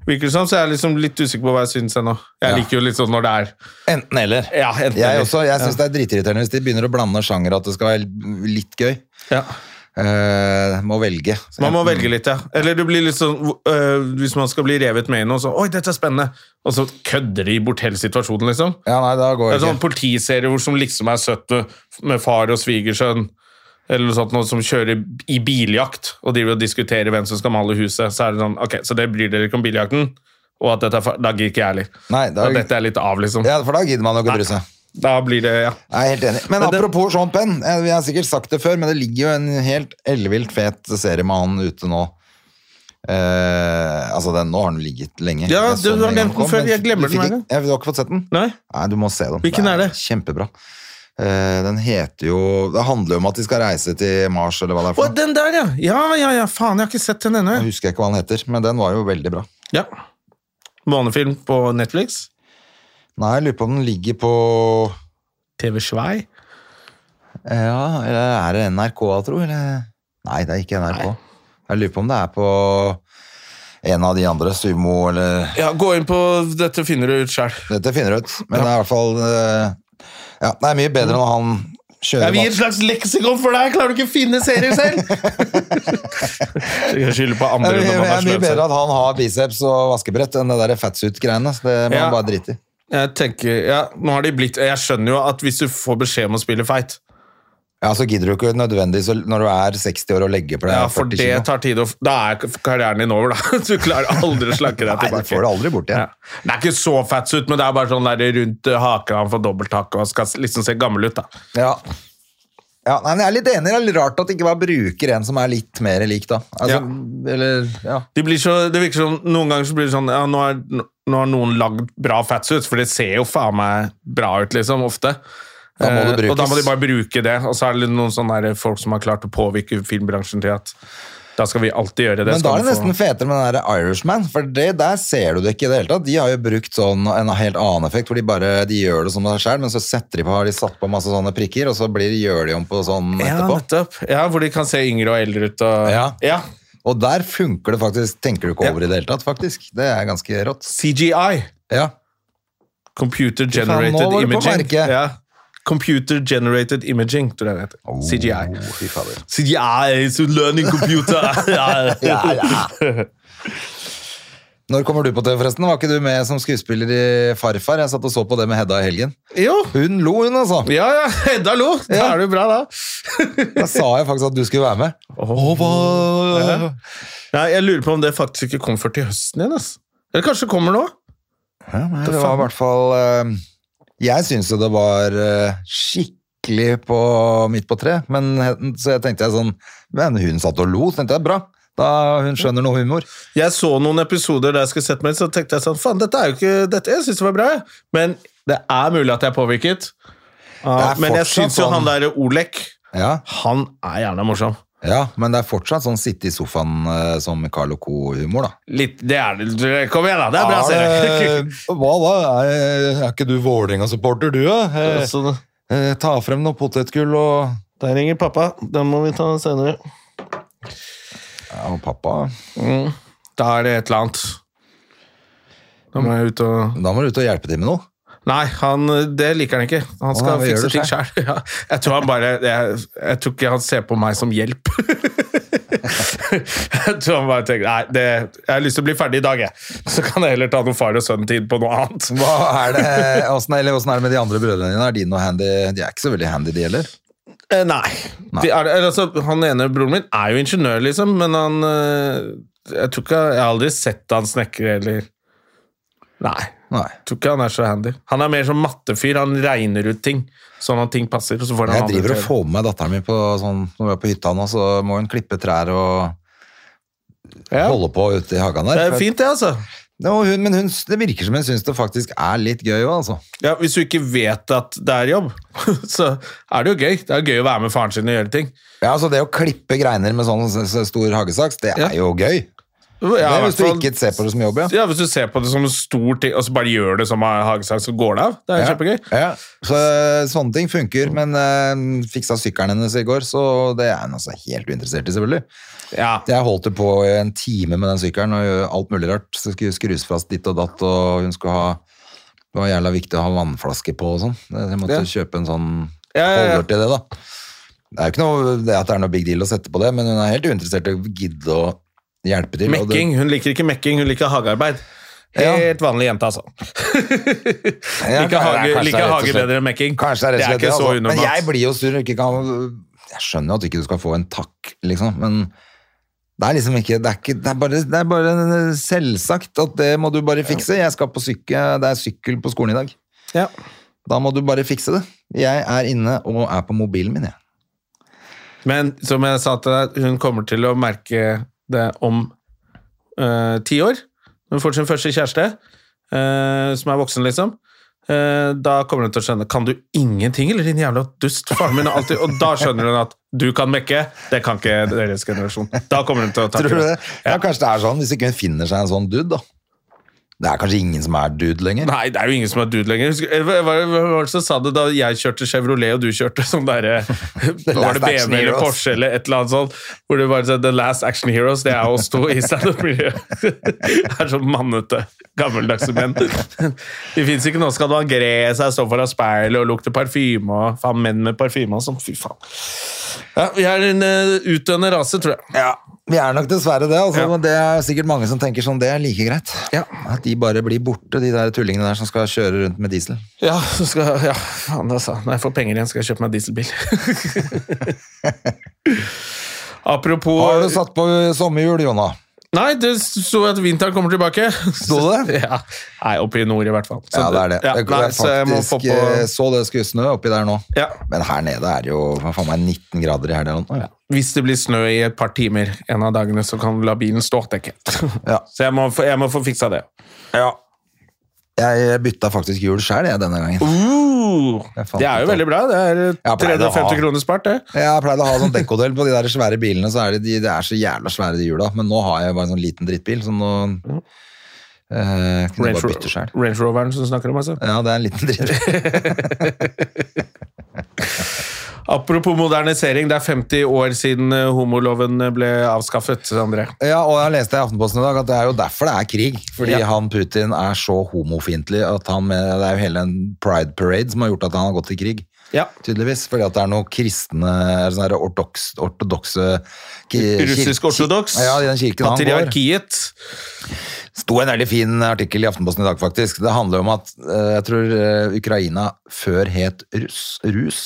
A: Virker det som, så jeg er liksom litt usikker på hva jeg syns ennå. Jeg
B: Ja.
A: liker jo litt sånn når det er
B: Enten eller.
A: Ja, enten
B: Jeg,
A: eller.
B: også, jeg syns det er dritirriterende hvis de begynner å blande sjanger at det skal være litt gøy.
A: Ja.
B: Eh, må velge.
A: Man må velge litt, ja. Eller du blir litt sånn øh, Hvis man skal bli revet med i noe, så Oi, dette er spennende! Og så kødder de bort hele situasjonen, liksom.
B: Ja, nei, da går
A: Det
B: det
A: er sånn
B: ikke.
A: politiserie hvor som liksom er søtt med, med far og svigersønn. Eller noe sånt noe som kjører i biljakt og driver og diskuterer hvem som skal male huset. Så er det sånn, ok, så det bryr dere ikke om biljakten, og at dette er far... Da gir ikke jeg heller.
B: Nei, da-
A: Og dette er litt av, liksom.
B: Ja, for da gidder man jo ikke å bry seg.
A: Da blir det ja.
B: Jeg er helt enig. Men
A: Men det-
B: apropos Sean Penn, eh, vi har sikkert sagt det før, men det ligger jo en helt ellevilt fet serie med han ute nå. Eh, altså, den, nå har den ligget lenge.
A: Ja,
B: Jeg så
A: du har
B: igjen
A: nevnt den
B: kom,
A: før.
B: men
A: Jeg glemmer
B: du fikk
A: den hver
B: ikke- Ja, Du har ikke fått sett den?
A: Nei?
B: Nei, du må se den.
A: Hvilken er det?
B: Kjempebra. Eh, den heter jo Det handler jo om at de skal reise til Mars, eller hva det er for
A: Å,
B: noe.
A: den der, ja! Ja, ja, ja, faen, jeg har ikke sett den ennå.
B: Jeg
A: jeg.
B: husker ikke hva den heter, men den var jo veldig bra.
A: Ja. Månefilm på Netflix.
B: Nei, jeg lurer på om den ligger på
A: TV Svei.
B: Ja, eller er det NRK, tro? Eller? Nei, det er ikke NRK. Jeg lurer på om det er på en av de andre, Sumo eller
A: Ja, gå inn på Dette finner du ut sjøl.
B: Dette finner du ut. Men det er i hvert fall eh, Ja, det er mye bedre når han
A: Jeg
B: kjører
A: vil gi et
B: mat.
A: slags leksikon for deg! Klarer du ikke å finne serier selv? Jeg skylder på
B: Det
A: andre.
B: er mye-
A: når man
B: det
A: har
B: er mye
A: sløvt seg.
B: bedre at han har biceps og vaskebrett enn det der fatsuit-greiene. så Det må
A: Ja.
B: han bare drite i.
A: Jeg tenker, ja, nå har de blitt Jeg skjønner jo at hvis du får beskjed om å spille feit
B: Ja, så gidder du ikke nødvendigvis å- når du er 60 år og legger på deg
A: ja, for
B: 40
A: det
B: kilo.
A: tar tid å, Da er karrieren din over, da. <laughs> Du klarer aldri å slanke deg
B: Nei,
A: tilbake.
B: du får det aldri bort
A: Ja.
B: igjen.
A: Det er ikke så fats ut, men det er bare sånn der rundt eh, haka han får dobbelthake og skal liksom se gammel ut. da.
B: Ja. Ja, nei, men jeg er litt enig. Det er litt rart at ikke man bruker en som er litt mer lik, da. Altså, Eller, ja.
A: De blir så, det virker som, Noen ganger så blir det sånn ja, nå, er, nå har noen lagd bra fatsuits, for det ser jo faen meg bra ut, liksom, ofte.
B: Da må det
A: Eh, og da må de
B: brukes.
A: bare bruke det. Og så er det noen sånne der folk som har klart å påvirke filmbransjen til at da skal vi alltid gjøre det.
B: Men da
A: skal
B: er
A: du
B: det
A: få-
B: nesten fetere med den der Irishman, for det der ser du det ikke i det hele tatt. De har jo brukt sånn en helt annen effekt, hvor de bare de gjør det som seg selv, men så setter de på, har de satt på masse sånne prikker, og så blir, gjør de om på sånn etterpå.
A: Ja, nettopp. Ja, hvor de kan se yngre og eldre ut. Og...
B: Ja. Og der funker det faktisk, tenker du ikke over i det hele tatt, faktisk. Det er ganske rått.
A: CGI.
B: Ja.
A: Computer
B: faen, nå var
A: Generated
B: du på
A: Imaging.
B: merket.
A: Ja. Computer Generated Imaging, tror jeg det heter. CGI.
B: Oh, fy fader.
A: CGI is a learning computer! <laughs> ja,
B: Ja, ja. Når kommer du på TV, forresten? Var ikke du med som skuespiller i Farfar? Jeg satt og så på det med Hedda i helgen.
A: Jo.
B: Hun lo, hun, altså.
A: Ja, ja. <laughs> Hedda lo. Da
B: Ja.
A: er det jo bra, da.
B: Da sa jeg faktisk at du skulle være med.
A: Ja. Ja, jeg lurer på om det faktisk ikke kommer før til høsten igjen. ass. Eller kanskje det kommer nå?
B: Ja, nei, det var i hvert fall eh, Jeg syns jo det var eh, skikkelig på midt på tre, men he- så jeg tenkte jeg sånn Men hun satt og lo, så tenkte jeg bra. Da hun skjønner noe humor.
A: Jeg så noen episoder der jeg skulle sette meg inn, så tenkte jeg sånn Faen, dette er jo ikke dette, Jeg syns det var bra, jeg. Men det er mulig at jeg er påvirket. Ja,
B: Det er
A: men jeg
B: fortsatt
A: syns jo
B: sånn-
A: han derre Olek,
B: Ja,
A: han er gjerne morsom.
B: ja Men det er fortsatt sånn sitte i sofaen eh, som Carl og Co.-humor, da.
A: Litt, det er det. Kom igjen, da. altså, Det er bra, <laughs> ser du.
B: Hva da? Er, ikke du Vålerenga-supporter, du, da? Eh,
A: Så
B: Ta frem noe potetgull og
A: Der ringer pappa. Den må vi ta senere.
B: Ja, og pappa
A: Da er det et eller annet. Da må jeg ut og
B: Da må du ut og hjelpe til med noe.
A: Nei, han, det liker han ikke. Han skal
B: nei, gjør
A: fikse
B: det
A: ting sjøl. <laughs> Ja. Jeg tror han bare jeg, jeg tror ikke han ser på meg som hjelp. <laughs> jeg tror han bare tenker Nei, det, jeg har lyst til å bli ferdig i dag, jeg. Så kan jeg heller ta noe far og sønn-tid på noe annet.
B: Hva er det, åssen, eller, åssen er det med de andre brødrene dine? Er de noe handy? De er ikke så veldig handy, de heller.
A: Eh, nei.
B: Nei.
A: De er, eller, altså, han ene broren min er jo ingeniør, liksom, men han eh, Jeg tror ikke Jeg har aldri sett han snekre, eller Nei. Jeg
B: Nei.
A: tror ikke han er så handy. Han er mer som mattefyr. Han regner ut ting sånn at ting passer. Og så får han
B: Jeg
A: andre
B: driver og
A: til å gjøre det.
B: får med meg datteren min på sånn, når vi er på hytta nå, så må hun klippe trær og
A: Ja.
B: holde på ute i hagen
A: Det
B: der.
A: er fint, det, altså.
B: Ja, og hun, men hun, det virker som hun syns det faktisk er litt gøy òg, altså.
A: Ja, Hvis du ikke vet at det er jobb, <laughs> så er det jo gøy. Det er gøy å være med faren sin og gjøre ting.
B: Ja, altså det å klippe greiner med sånn s- s- stor hagesaks, det
A: Ja.
B: er jo gøy.
A: Ja,
B: Det
A: i
B: er
A: hvert
B: hvis du
A: fall-
B: ikke ser på det som jobb, ja.
A: ja, Hvis du ser på det som en stor ting, og så bare gjør det som en hagesang, så går det av. Det er
B: Ja.
A: kjempegøy.
B: Ja. Så, eh, sånne ting funker, men eh, fiksa sykkelen hennes i går, så det er hun altså helt uinteressert i, selvfølgelig.
A: Ja.
B: Jeg holdt det på i en time med den sykkelen og gjorde alt mulig rart. Så skulle skrus fast ditt og datt, og hun skulle ha Det var jævla viktig å ha vannflaske på og sånn. Jeg måtte
A: Ja.
B: kjøpe en sånn
A: Ja, ja, ja.
B: holder til det, da. Det er jo ikke noe det at det er noe big deal å sette på det, men hun er helt uinteressert i å gidde å hjelpe til. og det-
A: Mekking. Hun liker ikke mekking, hun liker hagearbeid.
B: Ja.
A: Helt vanlig jente, altså.
B: Ja,
A: liker hage,
B: kanskje det er
A: liker
B: rett og
A: hage
B: slett-
A: bedre enn mekking.
B: Kanskje det er rett og slett
A: ikke
B: det,
A: så
B: altså. Men jeg
A: unormalt.
B: blir jo sur. og Ikke kan, jeg skjønner jo at ikke du skal få en takk, liksom, men det er liksom ikke Det er, ikke, det er, bare, det er bare selvsagt at det må du bare fikse. Jeg skal på syke, Det er sykkel på skolen i dag.
A: Ja.
B: Da må du bare fikse det. Jeg er inne og er på mobilen min, jeg.
A: Men som jeg sa til deg, hun kommer til å merke det om eh, ti år. Når hun får sin første kjæreste, eh, som er voksen, liksom. Eh, da kommer hun til å skjønne Kan du ingenting, eller din jævla dust? Faren min har alltid Og da skjønner hun at du kan mekke, det kan ikke deres generasjon. Da kommer hun til å
B: Tror
A: takke
B: du det? Ja,
A: Ja.
B: kanskje det er sånn hvis ikke hun finner seg en sånn dude, da. Det er kanskje ingen som er dude lenger.
A: Nei, det er jo ingen som er dude lenger. Husker- eh, Hva hva- hva var det som sa det da jeg kjørte Chevrolet, og du kjørte sånn
B: <laughs>
A: derre Var
B: Last Action
A: det BMW eller
B: Heroes.
A: Porsche eller et eller annet sånt? Hvor du bare sa The Last Action Heroes, det er oss to i standup-miljøet. <laughs> Det er sånn mannete, gammeldagse menn. <laughs> Det fins ikke noe som kan ha gre seg, stå foran speilet og lukte parfyme og faen menn med parfyme og sånn. Fy faen. Ja, vi er en eh, utdøende rase, tror jeg.
B: Vi er nok dessverre det, altså,
A: Ja.
B: men det er sikkert mange som tenker sånn, det er like greit.
A: Ja.
B: At de bare blir borte, de der tullingene der som skal kjøre rundt med diesel.
A: Ja, så skal, ja faen altså. Når jeg får penger igjen, skal jeg kjøpe meg
B: <laughs>
A: dieselbil. Apropos
B: Har du satt på sommerhjul, Jona?
A: Nei, det sto at vinteren kommer tilbake. Sto
B: det?
A: <laughs> Ja. Nei, oppe i nord i hvert fall. Så
B: Ja, det er det.
A: Ja,
B: Jeg-
A: nei,
B: jeg
A: så jeg må få
B: faktisk
A: på
B: eh, så det skulle snø oppi der nå.
A: ja.
B: Men her nede er det jo hva faen meg 19 grader i helga eller noe.
A: Hvis det blir snø i et par timer en av dagene, så kan vi la bilen stå,
B: <laughs>
A: tenker jeg.
B: Ja.
A: Så jeg må, få- jeg må få fiksa det.
B: Jeg bytta faktisk hjul sjøl, jeg, denne gangen.
A: Uh,
B: Jeg fant
A: det er
B: ut
A: jo
B: av-
A: veldig bra. Det er
B: Jeg pleide å ha-
A: 350 kroner spart, det.
B: Jeg har pleid å ha sånn dekkodel på de der svære bilene, så er det, de, det er så jævla svære de hjula. Men nå har jeg bare en sånn liten drittbil, så nå eh, kunne jeg
A: Range,
B: bare bytte sjøl.
A: Range Roveren som du snakker om, altså.
B: Ja, det er en liten drittbil.
A: Apropos modernisering, det er 50 år siden eh, homoloven ble avskaffet, André.
B: Ja, og jeg leste i Aftenposten i dag at det er jo derfor det er krig. Fordi
A: Ja.
B: han Putin er så homofiendtlig at han med, det er jo hele en pride parade som har gjort at han har gått til krig.
A: Ja.
B: tydeligvis. Fordi at det er noen kristne, eller sånne her ortodoks- ortodokse ki-
A: Russisk
B: kirke-
A: ortodoks.
B: Ja, i den kirken han går.
A: Patriarkiet.
B: sto en veldig fin artikkel i Aftenposten i dag, faktisk. Det handler om at eh, jeg tror eh, Ukraina før het Russ, Rus,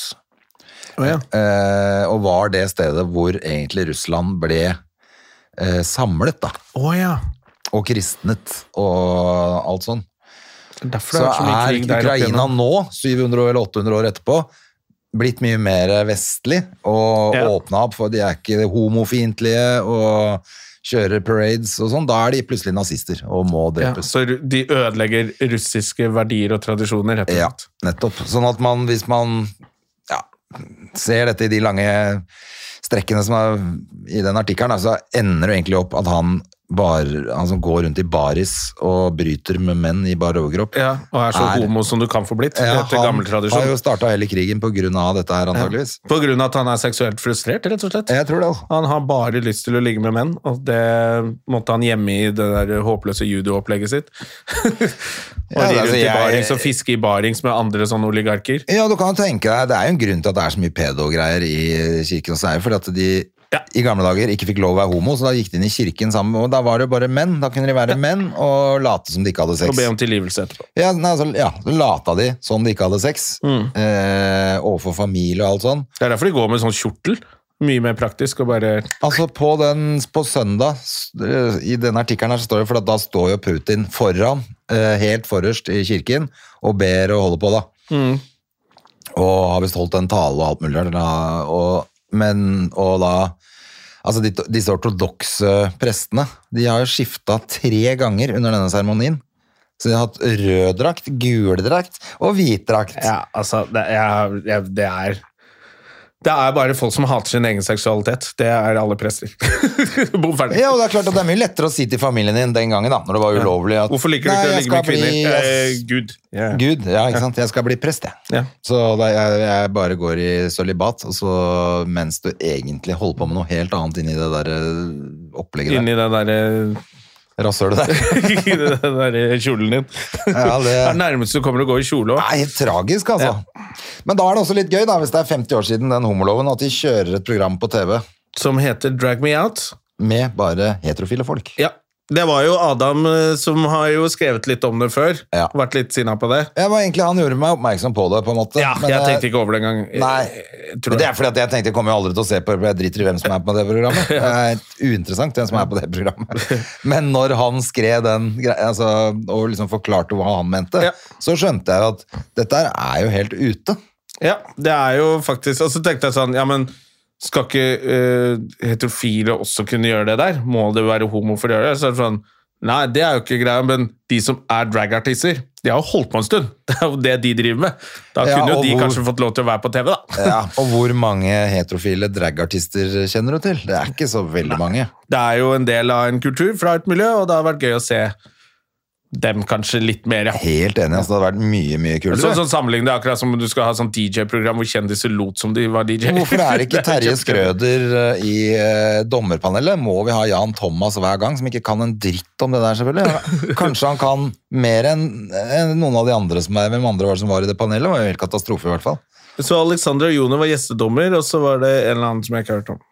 A: Å, ja.
B: eh, og var det stedet hvor egentlig Russland ble eh, samlet, da,
A: Å, ja.
B: og kristnet og alt sånn.
A: Derfor
B: Så
A: det har vært så mye
B: er
A: krig der opp
B: Ukraina
A: igjennom.
B: nå, 700 år eller 800 år etterpå, blitt mye mer vestlig og
A: Ja.
B: åpna opp, for de er ikke homofiendtlige og kjører parades og sånn. Da er de plutselig nazister og må
A: Ja,
B: drepes.
A: så ru- de ødelegger russiske verdier og tradisjoner, rett og
B: Ja,
A: slett.
B: nettopp. Sånn at man, hvis man ja, ser dette i de lange strekkene som er i den artikkelen, da, så ender det egentlig opp at han, bar, han som går rundt i baris og bryter med menn i bar overkropp
A: Ja, og er så
B: Er-
A: homo som du kan få blitt,
B: Ja,
A: etter
B: han
A: gammel tradisjon.
B: har jo starta hele krigen på grunn av dette her, antageligvis.
A: På grunn av at han er seksuelt frustrert, rett og slett.
B: Jeg tror det. altså.
A: Han har bare lyst til å ligge med menn, og det måtte han gjemme i det der håpløse judoopplegget <laughs> sitt. og
B: Ja,
A: ri
B: altså,
A: rundt i
B: jeg-
A: barings og fiske i barings med andre sånne oligarker.
B: Ja, du kan jo tenke deg, Det er jo en grunn til at det er så mye pedo-greier i kirken. også, er jo fordi at de i gamle dager ikke fikk lov å være homo, så da gikk de inn i kirken sammen. og Da var det jo bare menn. Da kunne de være menn og late som de ikke hadde
A: Og
B: sex.
A: be om tilgivelse etterpå.
B: Ja, nei, altså, ja, så lata de som de ikke hadde sex. Eh, overfor familie og alt sånn.
A: Det er derfor de går med sånn kjortel. Mye mer praktisk og bare
B: Altså på, den, på søndag, s- eh, i denne artikkelen her, så står det, for at da står jo Putin foran, eh, helt forrest i kirken, og ber og holder på da.
A: Mm.
B: Og har vist holdt en tale og alt mulig. der, da, Og, men, og da, altså de, disse ortodokse prestene, de har jo skiftet tre ganger under denne seremonien. Så de har hatt rød drakt, gul drakt og hvit drakt.
A: Ja, altså, det er, jeg- det er Det er bare folk som hater sin egen seksualitet. Det er alle prester. <laughs> Bom ferdig.
B: Ja, og det er klart at det er mye lettere å si til familien din den gangen da, når det var ulovlig at
A: Hvorfor liker du
B: «Nei,
A: ikke
B: jeg
A: å ligge med
B: skal
A: kvinner?
B: bli-
A: Eh, Gud.
B: Gud, ja, ikke sant? Jeg skal bli prest, jeg.
A: Ja.
B: Så da jeg, jeg bare går i sølibat, og så mens du egentlig holder på med noe helt annet inni det der eh, opplegget
A: Inni eh, den derre
B: der. Rasshølet der.
A: <laughs> i den der eh, kjolen din.
B: Ja, det-
A: <laughs> det er nærmest du kommer å gå i kjole
B: Det
A: òg.
B: er helt tragisk, altså. Men da er det også litt gøy, da, hvis det er 50 år siden den homoloven, at de kjører et program på TV
A: Som heter Drag Me Out.
B: med bare heterofile folk.
A: Ja. Det var jo Adam eh, som har jo skrevet litt om det før.
B: Ja.
A: Vært litt sinna på det.
B: Det var egentlig han gjorde meg oppmerksom på det, på en måte.
A: Ja,
B: Men,
A: jeg
B: eh,
A: tenkte ikke over det engang.
B: Nei,
A: Jeg tror
B: men det er fordi at jeg tenkte jeg kommer jo aldri til å se på det, for jeg driter i hvem som er på det programmet. Det er helt uinteressant hvem som er på det programmet. Men når han skrev den greia, altså, og liksom forklarte hva han mente,
A: Ja.
B: så skjønte jeg at dette her er jo helt ute.
A: Ja, det er jo faktisk Og så tenkte jeg sånn, ja, men skal ikke eh, heterofile også kunne gjøre det der? Må det være homo for å gjøre det? Så er det sånn, nei, det er jo ikke greia, men de som er dragartister, de har jo holdt på en stund. <laughs> Det er jo det de driver med. Da
B: Ja,
A: kunne jo
B: og
A: de
B: hvor-
A: kanskje fått lov til å være på TV, da.
B: Ja, og hvor mange heterofile dragartister kjenner du til? Det er ikke så veldig mange.
A: Det er jo en del av en kultur fra et miljø, og det har vært gøy å se dem kanskje litt mer. ja.
B: Helt enig, altså, det hadde vært mye, mye kulere.
A: Sånn, sånn sammenligning, det er akkurat som om du skal ha sånn DJ-program hvor kjendiser lot som de var DJ.
B: Hvorfor er
A: <laughs>
B: ikke Terje
A: kjempegøy.
B: Skrøder eh, i eh, dommerpanelet? Må vi ha Jan Thomas hver gang, som ikke kan en dritt om det der, selvfølgelig? Kanskje han kan mer enn enn noen av de andre som er Hvem andre var det som var i det panelet? Det var jo helt katastrofe, i hvert fall.
A: Så Alexander og Jone var gjestedommer, og så var det en eller annen som jeg ikke har hørt om.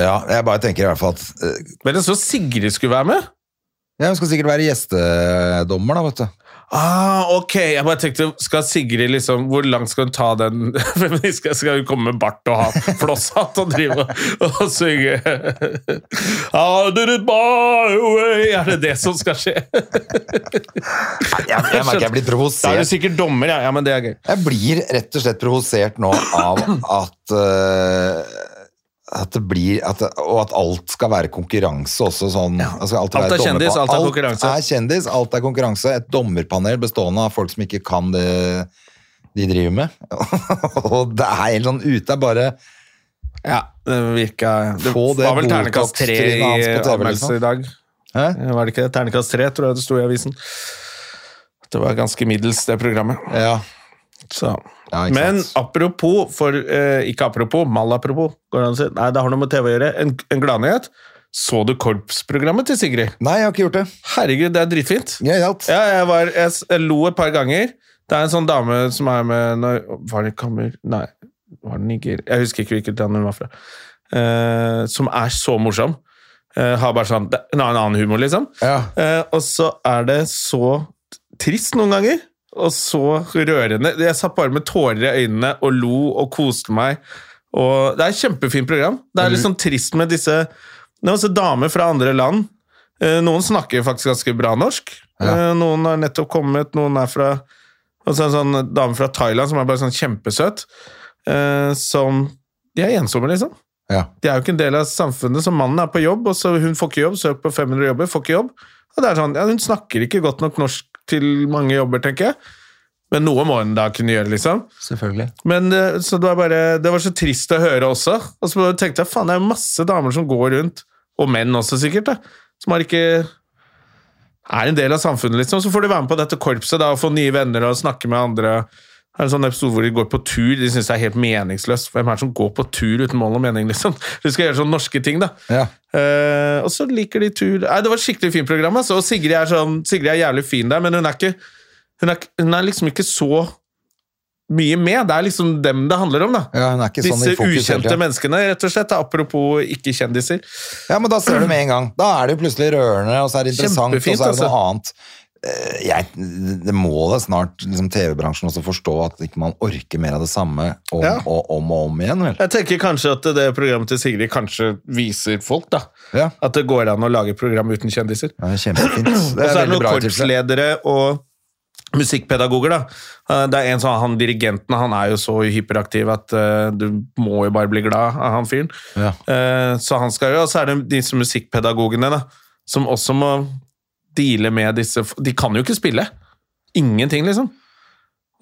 B: Ja, jeg bare tenker i hvert fall at eh,
A: Men jeg så Sigrid skulle være med.
B: Ja, hun skal sikkert være gjestedommer, da, vet du.
A: Ah, ok. Jeg bare tenkte, skal Sigrid liksom Hvor langt skal hun ta den <laughs> feministka? Skal hun komme med bart og ha flosshatt og drive og, og synge I'll do it my way. Er det det som skal skje?
B: Jeg, jeg, merker jeg blir
A: Da er du
B: provosert.
A: sikkert dommer, ja. ja men det er gøy.
B: Jeg blir rett og slett provosert nå av at eh, at det blir, at, det- og at alt skal være konkurranse også. Sånn, altså alltid
A: Alt
B: være
A: er
B: dommerpa-
A: kjendis, alt er konkurranse.
B: Alt er kjendis, alt er konkurranse. Et dommerpanel bestående av folk som ikke kan det de driver med. <laughs> og det er helt sånn ute. Det er bare
A: Ja, det virka Det
B: Få det
A: var vel ternekast tre i
B: Botox-trynet hans på TV,
A: anmeldelse
B: liksom.
A: i dag.
B: Hæ?
A: Var det ikke det? Ternekast tre, tror jeg det sto i avisen. Det var ganske middels, det programmet.
B: Ja.
A: Så.
B: Ja, ikke
A: Men
B: sant.
A: apropos, for eh, ikke apropos, malapropos, går det an å si? Nei, det har noe med TV å gjøre. En, en gladnyhet. Så du korpsprogrammet til Sigrid?
B: Nei, jeg har ikke gjort det.
A: Herregud, det er dritfint.
B: Gøyalt.
A: Ja, jeg, var, jeg, s- jeg lo et par ganger. Det er en sånn dame som er med når, Var det Kamer? Nei, var det Niger? Jeg husker ikke hvilket land hun var fra. Eh, som er så morsom. Eh, har bare sånn det- en annen, annen humor, liksom.
B: Ja.
A: Eh, og så er det så trist noen ganger. Og så rørende. Jeg satt bare med tårer i øynene og lo og koste meg. Og det er et kjempefint program. Det
B: Mm.
A: er litt sånn trist med disse Det er også damer fra andre land. Eh, Noen snakker faktisk ganske bra norsk.
B: Ja.
A: Eh, Noen har nettopp kommet, noen er fra Og så er det en sånn dame fra Thailand som er bare sånn kjempesøt. eh, Som De er ensomme, liksom.
B: Ja.
A: De er jo ikke en del av samfunnet, så mannen er på jobb, og så hun får ikke jobb, søker på 500 jobber, får ikke jobb. Og det er sånn, ja, Hun snakker ikke godt nok norsk til mange jobber, tenker jeg. Men noe må hun da kunne gjøre, liksom.
B: Selvfølgelig.
A: Men eh, så det var, bare, det var så trist å høre også. Og så tenkte jeg faen, det er jo masse damer som går rundt, og menn også sikkert, da, som har ikke er en del av samfunnet, liksom. Så får de være med på dette korpset da, og få nye venner og snakke med andre. Det er en sånn episode hvor de går på tur. De syns det er helt meningsløst. Hvem er det som går på tur uten mål og mening, liksom? <laughs> Du skal gjøre sånne norske ting, da.
B: Ja.
A: Eh, og så liker de tur Nei, Det var et skikkelig fint program. Altså. Og Sigrid er, sånn, Sigrid er jævlig fin der, men hun er, ikke, hun, er, hun er liksom ikke så mye med. Det er liksom dem det handler om, da.
B: Ja, hun er ikke sånn
A: Disse
B: i fokus hele
A: ukjente
B: tiden.
A: menneskene, rett og slett. da. Apropos ikke-kjendiser.
B: Ja, men da ser du med en gang. Da er det jo plutselig rørende, og så er det interessant, og
A: Kjempefint,
B: så er det noe
A: altså.
B: annet. Eh, Jeg, det må da snart liksom, TV-bransjen også forstå at ikke man orker mer av det samme om
A: Ja.
B: og om og om igjen, vel?
A: Jeg tenker kanskje at det programmet til Sigrid kanskje viser folk, da.
B: Ja.
A: At det går an å lage program uten kjendiser.
B: Ja, det er
A: <clears throat>
B: kjempefint.
A: Og
B: Det
A: så
B: er
A: er det
B: veldig
A: noen
B: bra tips.
A: korpsledere og musikkpedagoger, da. Eh, Det er en sånn, han dirigenten, han er jo så hyperaktiv at eh, du må jo bare bli glad av han fyren.
B: Ja.
A: Eh, så han skal jo, og så er det disse musikkpedagogene, da, som også må deale med disse f- De kan jo ikke spille. Ingenting, liksom.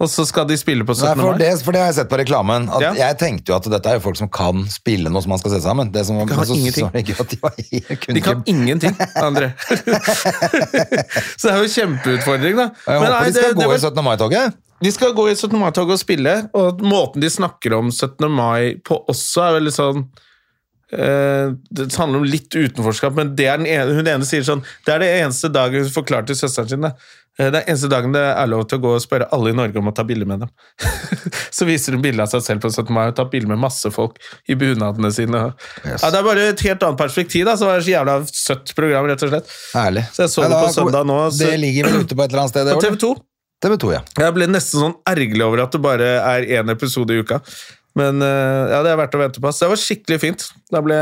A: Og så skal de spille på 17.
B: Nei, for,
A: mai.
B: det, for det har jeg sett på reklamen. At
A: Ja.
B: Jeg tenkte jo at dette er jo folk som kan spille noe som man skal se sammen. Det som,
A: kan
B: men så,
A: ingenting.
B: så jeg ikke at de var helt kunne
A: De kan
B: ikke-
A: ingenting, André. <laughs> så det er jo kjempeutfordring, da.
B: Jeg håper
A: Men nei,
B: de skal
A: det- det
B: gå
A: var-
B: i 17. mai-toget.
A: De skal gå i 17. mai-tog og spille, og måten de snakker om 17. mai på også er veldig sånn eh, Det handler om litt utenforskap, men det er den ene, hun ene sier sånn Det er det eneste dagen hun forklarer til søsteren sin. da. Eh, Det er eneste dagen det er lov til å gå og spørre alle i Norge om å ta bilde med dem. <laughs> så viser hun bilde av seg selv på 17. mai og tar bilde med masse folk i bunadene sine. Ja, det er bare et helt annet perspektiv. da, så det er så jævla søtt program, rett og slett.
B: Herlig.
A: Så jeg så
B: Nei,
A: det
B: da-
A: på søndag nå. Så,
B: Det ligger vel ute på et eller annet sted? det,
A: på
B: gjorde
A: TV 2.
B: det? TV 2, ja.
A: Jeg ble nesten sånn ergerlig over at det bare er én episode i uka. Men eh, ja, det er verdt å vente på. Så det var skikkelig fint. Da ble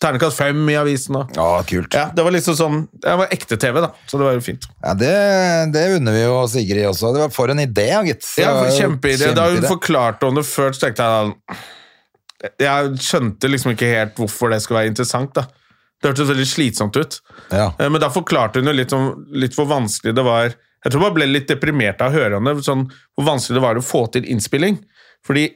A: ternekast fem i avisen. Og.
B: Ja, kult.
A: Ja, det var liksom sånn Det var ekte TV, da. Så det var jo fint.
B: Ja, det, det unner vi jo Sigrid også. Det var for en idé, ja, gitt. Det
A: Ja,
B: var jo
A: Kjempeidé. Da hun
B: kjempeidé.
A: forklarte om det før, så tenkte jeg da Jeg skjønte liksom ikke helt hvorfor det skulle være interessant, da. Det hørtes veldig slitsomt ut.
B: ja. <laughs>
A: Eh, Men da forklarte hun jo litt, om, litt hvor vanskelig det var Jeg tror man ble litt deprimert av å høre henne, sånn, hvor vanskelig det var å få til innspilling. Fordi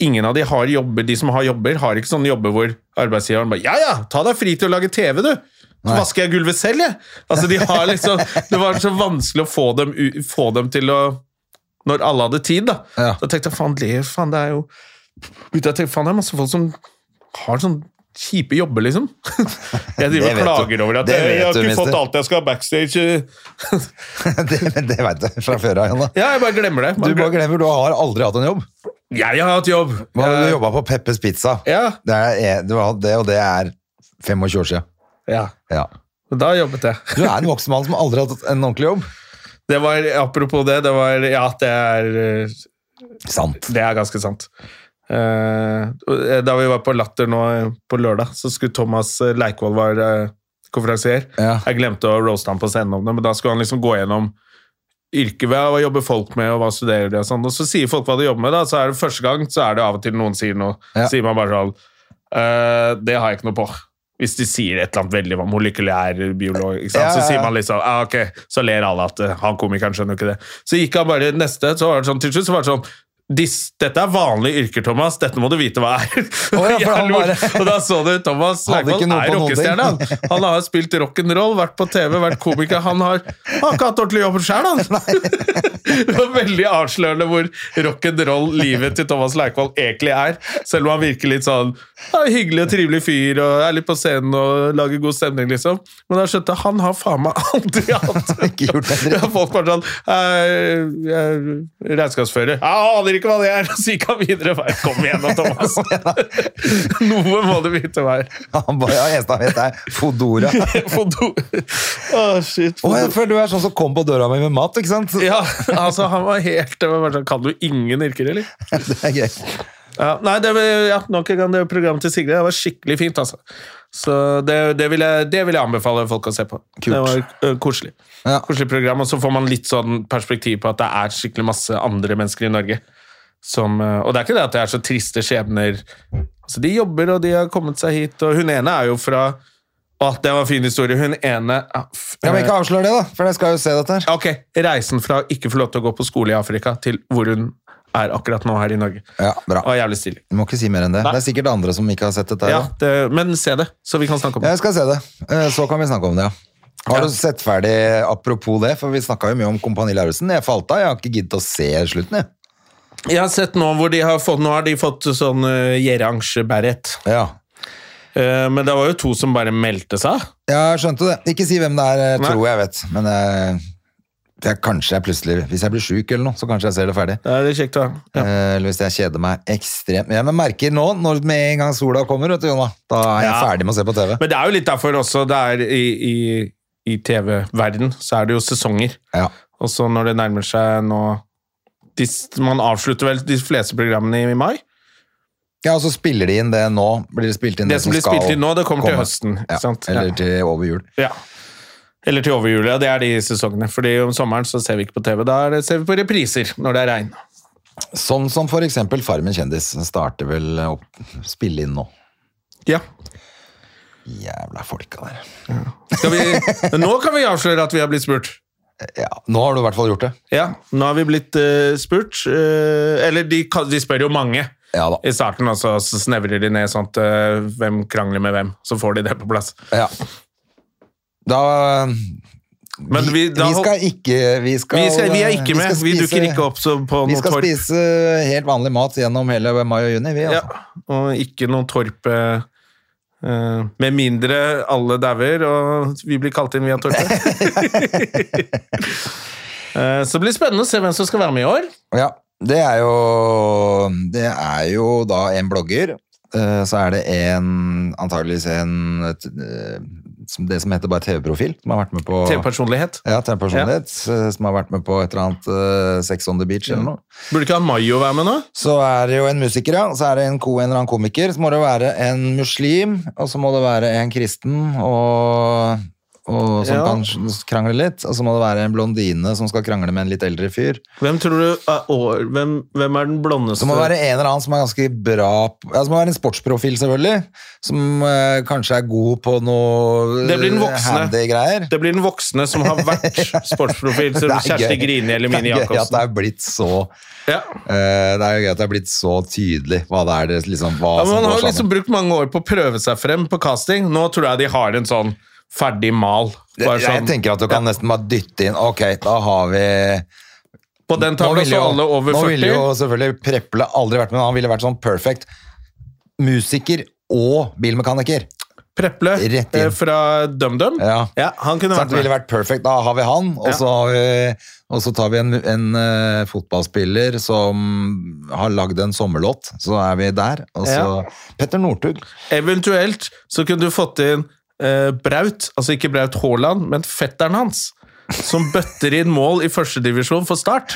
A: ingen av de har jobber, de som har jobber, har ikke sånne jobber hvor arbeidsgiveren bare Ja, ja, ta deg fri til å lage TV, du! Så
B: Nei.
A: vasker jeg gulvet selv, jeg! Altså, de har liksom Det var så vanskelig å få dem, u- få dem til å Når alle hadde tid, da.
B: Ja.
A: Da tenkte jeg faen, det, faen, det er jo Begynte jeg å tenke, faen, det er masse folk som har sånn kjipe jobber, liksom. <laughs> Jeg driver
B: Det vet
A: og
B: du.
A: klager over at
B: Det
A: jeg, jeg
B: vet
A: har
B: du,
A: ikke fått
B: mister.
A: alt jeg skal ha backstage.
B: det, det vet jeg fra før av. Jonna.
A: Ja, jeg bare glemmer det.
B: Du
A: Bare
B: bare
A: glem-
B: glemmer, du har aldri hatt en jobb.
A: Jeg har hatt jobb!
B: Hva, du
A: Jeg-
B: jobba på Peppes Pizza.
A: Ja.
B: Det, er, eh, du har, det og det er 25 år siden.
A: ja.
B: Ja.
A: Og Da jobbet jeg.
B: Du er en voksen mann som aldri har hatt en ordentlig jobb.
A: Det var, apropos det, det var Ja, det er eh,
B: Sant.
A: Det er ganske sant. Eh, og da vi var på Latter nå eh, på lørdag, så skulle Thomas eh, Leikvoll var eh, konferansier.
B: Ja.
A: Jeg glemte å roaste ham på scenen om det, men da skulle han liksom gå gjennom yrket ved hva jobber folk med, og hva studerer de, og sånn. Og så sier folk hva de jobber med, da. Så er det første gang, så er det av og til noen sier noe.
B: Ja.
A: Sier man bare sånn «Eh, Det har jeg ikke noe på. Hvis de sier et eller annet veldig om molekylærbiolog, ikke sant?
B: Ja, ja, ja.
A: så sier man liksom ah, ok, så ler alle at eh, han komikeren skjønner jo ikke det. Så gikk han bare neste, så var det sånn til slutt så var det sånn Dis, dette er vanlige yrker, Thomas. Dette må du vite hva er. <laughs>
B: ja, for han
A: Jeg lor.
B: bare-
A: Og da så du Thomas
B: Hadde ikke
A: Langvold
B: noe
A: er
B: på noen
A: rockestjerne. Han. han har spilt rock'n'roll, vært på TV, vært komiker. Han har, han har ikke hatt ordentlig jobb
B: <laughs>
A: sjøl, han. <laughs> det var veldig avslørende hvor rock'n'roll-livet til Thomas Leikvoll egentlig er. Selv om han virker litt sånn ja, hyggelig og trivelig fyr og er litt på scenen og lager god stemning, liksom. Men da skjønte jeg han har faen meg <laughs> aldri hatt
B: <laughs> Ikke gjort det.
A: ja, folk bare sånn «Eh, jeg er Regnskapsfører. Jeg aner ikke hva det er! <laughs> Så gikk han videre. Bare, Kom igjen da,
B: <laughs>
A: Thomas! <laughs> Noe må du vite hva er.
B: Han bare, ja, eneste han vet er Fodora.
A: <laughs> Fodo- Å, shit.
B: Å, jeg føler du er sånn som kom på døra mi med mat, ikke sant?
A: Ja, altså, han var helt det var bare sånn, Kan du ingen yrker, eller?
B: <laughs> Det er gøy.
A: Ja, nei, det var, ja, nok en gang det programmet til Sigrid. Det var skikkelig fint, altså. Så det, det, vil jeg, det vil jeg anbefale folk å se på.
B: Kult.
A: Det var ø, koselig.
B: Ja.
A: Koselig program, og så får man litt sånn perspektiv på at det er skikkelig masse andre mennesker i Norge. Som, ø, og det er ikke det at det er så triste skjebner. Altså, de jobber, og de har kommet seg hit, og hun ene er jo fra Å, det var en fin historie. Hun ene ja, f-
B: Ja, men ikke avslør det, da, for jeg skal jo se dette her.
A: Ok, reisen fra å ikke få lov til å gå på skole i Afrika til hvor hun er akkurat nå her i Norge.
B: Ja, bra.
A: Og jævlig stilig.
B: Du må ikke si mer enn det. Det er sikkert andre som ikke har sett dette. her,
A: Ja,
B: da.
A: det, men se det, så vi kan snakke om
B: Ja,
A: det.
B: jeg skal se det. Eh, Så kan vi snakke om det, ja. Har du sett ferdig apropos det, for vi snakka jo mye om Kompani Lauritzen. Jeg falt av, jeg har ikke giddet å se slutten, jeg.
A: Jeg har sett nå hvor de har fått Nå har de fått sånn uh, Gjerange-beret.
B: Ja.
A: Eh, men det var jo to som bare meldte seg.
B: Ja, jeg skjønte det. Ikke si hvem det er, jeg
A: Nei.
B: tror jeg vet. Men eh, jeg, kanskje jeg plutselig, hvis jeg blir sjuk eller noe, så kanskje jeg ser det ferdig.
A: Det er litt kjekt, da. Ja.
B: Eh, Eller hvis jeg kjeder meg ekstremt. Men Jeg merker nå, når med en gang sola kommer, vet du, Jonna, da er jeg
A: Ja.
B: ferdig med å se på TV.
A: Men det er jo litt derfor også det er i, i, i TV-verden så er det jo sesonger.
B: Ja.
A: Og så når det nærmer seg nå de, Man avslutter vel de fleste programmene i, i mai?
B: ja, og så spiller de inn det nå. Blir det spilt inn
A: Det som blir
B: skal
A: spilt inn nå, det kommer til
B: komme.
A: høsten, ikke
B: Ja,
A: sant?
B: Eller
A: Ja.
B: til over jul.
A: Ja. Eller til overjula. Det er de sesongene. Fordi om sommeren så ser vi ikke på TV. Da er det, ser vi på repriser når det er regn.
B: Sånn som for eksempel Farmen kjendis den starter vel å spille inn nå.
A: Ja,
B: Jævla folka der.
A: Skal vi, nå kan vi avsløre at vi har blitt spurt.
B: Ja, nå har du i hvert fall gjort det.
A: Ja, nå har vi blitt eh, spurt. eh, eller de, kan- de spør jo mange
B: Ja da.
A: i starten, og så så snevrer de ned sånn at eh, hvem krangler med hvem. Så får de det på plass.
B: Ja. Da
A: Men vi, da,
B: vi skal ikke Vi, skal,
A: vi, skal, vi er ikke
B: vi
A: med.
B: skal
A: Vi, dukker
B: spise-
A: ikke opp så på
B: Vi
A: noe
B: skal
A: torp.
B: spise helt vanlig mat gjennom hele mai og juni, vi.
A: Ja,
B: Altså.
A: og ikke noe torp eh, eh, Med mindre alle dauer, og vi blir kalt inn via
B: <laughs>
A: torpet. <laughs> Eh, så det blir spennende å se hvem som skal være med i år.
B: Ja, det er jo Det er jo da en blogger. eh, Så er det en antageligvis en et, eh, som- Det som heter bare TV-profil, som har vært med på
A: TV-personlighet.
B: ja, TV-personlighet, eh, som har vært med på et eller annet eh, Sex on the Beach
A: Mm.
B: eller noe.
A: Burde ikke han Mayo være med nå?
B: Så er det jo en musiker, ja. Så er det en, ko, en eller annen komiker. Så må det være en muslim, og så må det være en kristen og, og som
A: Ja.
B: kan krangle litt. Og så må det være en blondine som skal krangle med en litt eldre fyr.
A: Hvem tror du er år? Hvem, hvem er den blondeste?
B: Så må det være en eller annen som er ganske bra p- ja, Så må det være en sportsprofil, selvfølgelig. Som eh, kanskje er god på noe eh,
A: Det blir den voksne.
B: handy-greier.
A: Det blir den voksne som har vært
B: <laughs>
A: sportsprofil, som Kjersti Grini eller Mini
B: Det er gøy at det
A: Jacobsen.
B: er blitt så
A: Ja.
B: eh, Det er jo gøy at det er blitt så tydelig hva det er det liksom hva
A: Ja, men
B: som
A: man har
B: går
A: jo liksom
B: sammen.
A: brukt mange år på å prøve seg frem på casting. Nå tror jeg de har en sånn ferdig mal. Bare
B: Jeg- Jeg
A: sånn,
B: tenker at du kan nesten bare dytte inn Ok, da har vi
A: på den
B: Nå
A: tavla
B: ville
A: så
B: jo,
A: alle over
B: nå ville jo
A: 40.
B: selvfølgelig Preple aldri vært med, men han ville vært sånn perfect musiker og bilmekaniker.
A: Preple
B: Rett inn.
A: eh, fra DumDum.
B: Ja.
A: han kunne
B: Sant,
A: vært
B: det ville
A: med.
B: vært perfect. Da har vi han, og,
A: Ja.
B: så, har vi, og så tar vi en, en eh, fotballspiller som har lagd en sommerlåt. Så er vi der. Og så
A: Ja.
B: Petter Northug.
A: Eventuelt så kunne du fått inn eh, Braut, altså ikke Braut Haaland, men fetteren hans. Som bøtter inn mål i førstedivisjon for Start.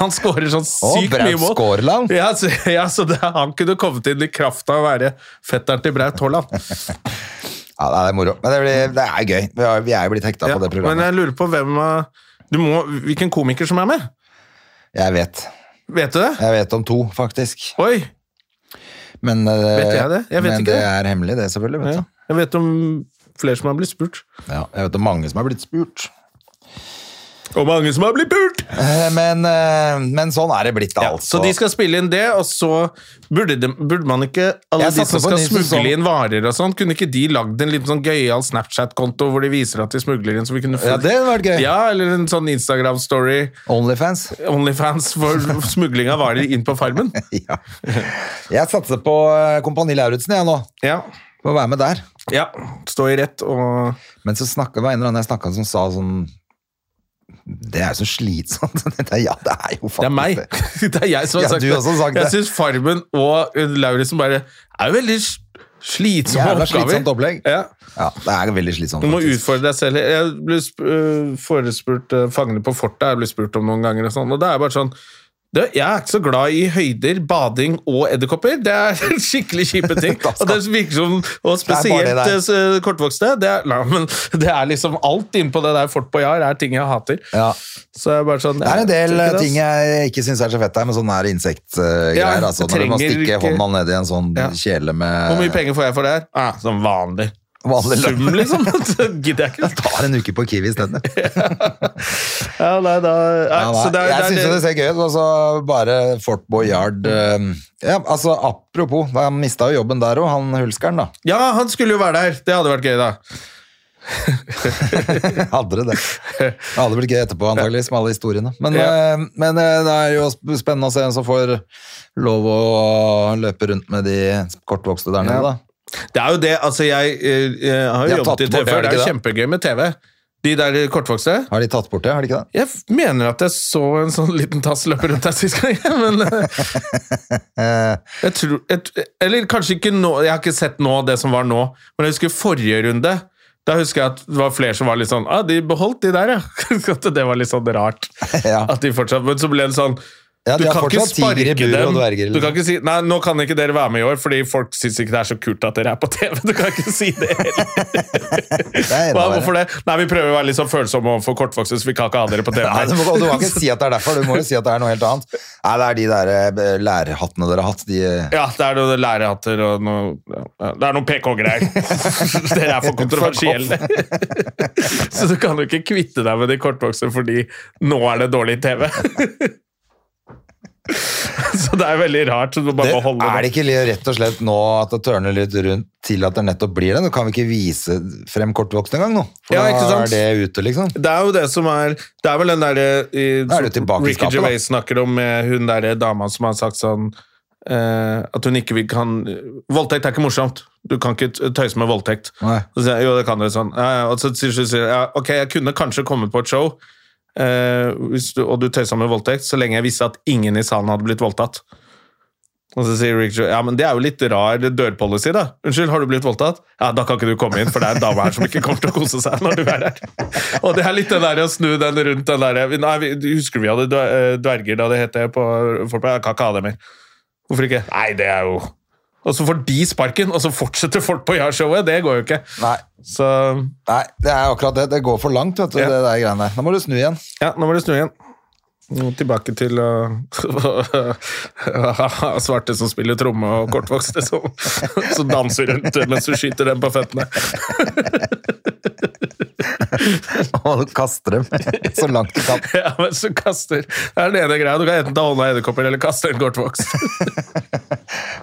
A: Han skårer sånn
B: Og
A: sykt mye
B: Braut
A: mål.
B: Skårland.
A: Ja, så, ja, så det, han kunne kommet inn i kraft av å være fetteren til Braut Haaland.
B: Ja, det er moro. Men det, blir, det er gøy. Vi har- Vi er jo blitt hekta
A: Ja,
B: på det
A: men
B: programmet.
A: jeg lurer på hvem av- du må, Hvilken komiker som er med?
B: Jeg vet.
A: Vet du det?
B: Jeg vet om to, faktisk.
A: Oi!
B: Men, eh,
A: Vet jeg det? Jeg vet
B: men
A: ikke
B: det
A: det.
B: er hemmelig, det, selvfølgelig. Vet
A: Ja, jeg vet om flere som har blitt spurt.
B: du. Ja, jeg vet om mange som er blitt spurt.
A: Og mange som har blitt pult!
B: Eh, Men, eh, men sånn er det blitt, da.
A: Ja, så
B: altså.
A: de skal spille inn det, og så burde, de, burde man ikke Alle
B: Jeg
A: de
B: satser
A: som
B: på en
A: skal
B: ny sesong.
A: smugle inn varer og sånn, kunne ikke de lagd en liten sånn gøyal Snapchat-konto hvor de viser at de smugler inn, så vi kunne
B: Ja, det hadde vært gøy.
A: Ja, eller en sånn Instagram-story.
B: Onlyfans. <laughs>
A: Onlyfans for <laughs> smugling av varer inn på Farmen.
B: Ja. Jeg satser på eh, Kompani Lauritzen, jeg nå.
A: Ja.
B: Får være med der.
A: ja. Stå i rett og
B: Men så snakka det var en eller annen jeg snakka som sa sånn Det er jo så slitsomt. <laughs> Det er- Ja, det er jo faktisk
A: Det er meg!
B: det.
A: <laughs> Det er jeg som har
B: Ja,
A: sagt
B: du
A: det.
B: også har sagt
A: jeg
B: det.
A: syns Farmen og Lauritzen bare er jo veldig s- slitsomme
B: Jævla
A: oppgaver.
B: slitsomt opplegg.
A: Ja.
B: Ja, det er veldig slitsomt.
A: Du må
B: faktisk.
A: utfordre deg selv. Jeg ble sp øh, forespurt øh, Fangene på fortet jeg ble spurt om noen ganger, og sånn, og det er bare sånn du, jeg er ikke så glad i høyder, bading og edderkopper. Det er <laughs> skikkelig kjipe ting.
B: <laughs> Da skal-
A: Og det virker som, og
B: bare det
A: spesielt
B: der.
A: øh, s- kortvokste. Det er, nei, men <laughs> det er liksom alt innpå det der Fort Boyard er ting jeg hater.
B: Ja.
A: Så jeg er bare sånn
B: Det er en
A: jeg
B: del eh, øh,
A: tror ikke det,
B: ting jeg ikke syns er så fett her, men sånn er insektgreier.
A: Ja,
B: altså, når du må
A: trenger
B: stikke
A: ikke-
B: hånda ned i en sånn
A: Ja.
B: kjele
A: ass.
B: med
A: Hvor mye penger får jeg for det her? Ah, som vanlig.
B: Vanlig lønn.
A: Sum, liksom. <laughs> Det gidder jeg
B: <laughs>
A: ikke.
B: Tar en uke på Kiwi isteden.
A: <laughs> Ja, nei, da, nei,
B: Ja,
A: så
B: nei,
A: det
B: jeg
A: er- det er-
B: syns jo det ser gøy ut. og så bare Fort Boyard eh, ja, altså, Apropos, han mista jo jobben der òg, han hulskeren, da. <laughs>
A: Ja, han skulle jo være der. Det hadde vært gøy, da.
B: Hadde det det. Det hadde blitt gøy etterpå, antakeligvis, med alle historiene. Men,
A: Ja.
B: eh, men eh, det er jo sp- spennende å se hvem som får lov å løpe rundt med de kortvokste der nede, da.
A: Ja. Det er jo det, altså jeg, eh, jeg har
B: De
A: jo
B: har
A: jobbet i
B: tatt
A: TV
B: bort det,
A: før,
B: har de
A: det er jo
B: ikke
A: kjempegøy med TV. De der kortvokste.
B: Har de tatt bort det, har de ikke det?
A: Jeg f- mener at jeg så en sånn liten tass løpe rundt der sist gang, <laughs> men eh,
B: Eh,
A: jeg tror, jeg, Eller kanskje ikke nå, jeg har ikke sett nå det som var nå, men jeg husker forrige runde. Da husker jeg at det var flere som var litt sånn ah, de beholdt de der, ja. <laughs> At det var litt sånn rart.
B: Ja.
A: At de fortsatt, Men så ble det sånn
B: Ja, de
A: du
B: har
A: kan ikke
B: fortsatt tiger i
A: sparke
B: bur og
A: dem.
B: dverger.
A: du kan ikke si Nei, nå kan ikke dere være med i år, fordi folk syns ikke det er så kult at dere er på TV. <laughs> Du kan ikke si det heller.
B: Det er
A: Hva,
B: enda
A: hvorfor
B: verre.
A: det? Nei, vi prøver å være litt sånn følsomme overfor kortvokste, så vi kan ikke ha dere på TV.
B: Nei, du, må, du kan ikke si at det er derfor, du må jo si at det er noe helt annet. Nei, det er de der eh, lærhattene dere har hatt, de eh,
A: Ja, det er noen lærehatter og noe ja, Det er
B: <laughs>
A: noen PK-greier. Dere er for kontroversielle. <laughs> Så du kan jo ikke kvitte deg med de kortvokste fordi nå er det dårlig TV. <laughs> Så det er veldig rart. Så du må
B: det,
A: bare holde
B: er det ikke li- rett og slett nå at det tørner litt rundt til at det nettopp blir det? Nå kan vi ikke vise frem kortvoksen engang, nå. For
A: Ja, ikke
B: da
A: sant?
B: er det ute, liksom.
A: Det er jo det som er Det er vel den derre eh,
B: Da er det jo tilbake i
A: Ricky
B: skapet, da.
A: Gervais snakker om eh, hun derre dama som har sagt sånn eh, At hun ikke vil kan Voldtekt er ikke morsomt. Du kan ikke t- tøyse med voldtekt.
B: Nei.
A: Så sier jeg, jo, det kan du sånn. Ja, ja. Og så sier sier- sier jeg ja, ok, jeg kunne kanskje kommet på et show, eh, hvis du, og du tøysa med voldtekt, så lenge jeg visste at ingen i salen hadde blitt voldtatt. Og så sier Rick Gervais, ja, men det er jo litt rar dørpolicy, da. Unnskyld, har du blitt voldtatt? Ja, da kan ikke du komme inn, for det er en dame her som ikke kommer til å kose seg når du er her. Og det er litt det der å snu den rundt den der Nei, vi, husker du vi hadde dver- eh, dverger da det het det på Folk jeg kan ikke ha det mer. Hvorfor ikke? Nei, det er jo Og så får de sparken, og så fortsetter folk på ja-showet. Det går jo ikke.
B: Nei.
A: Så
B: Nei, det er akkurat det. Det går for langt, vet du,
A: Ja.
B: det der greiene. Nå må du snu igjen.
A: ja, nå må du snu igjen. Nå Tilbake til uh, <laughs> svarte som spiller tromme, og kortvokste som, <laughs> som danser rundt mens du skyter dem på føttene.
B: <laughs>
A: <laughs>
B: Og du kaster dem <laughs> så langt du kan.
A: Ja, mens du kaster. Det er den ene greia. Du kan enten ta hånda i edderkopper eller kaste en kortvokst.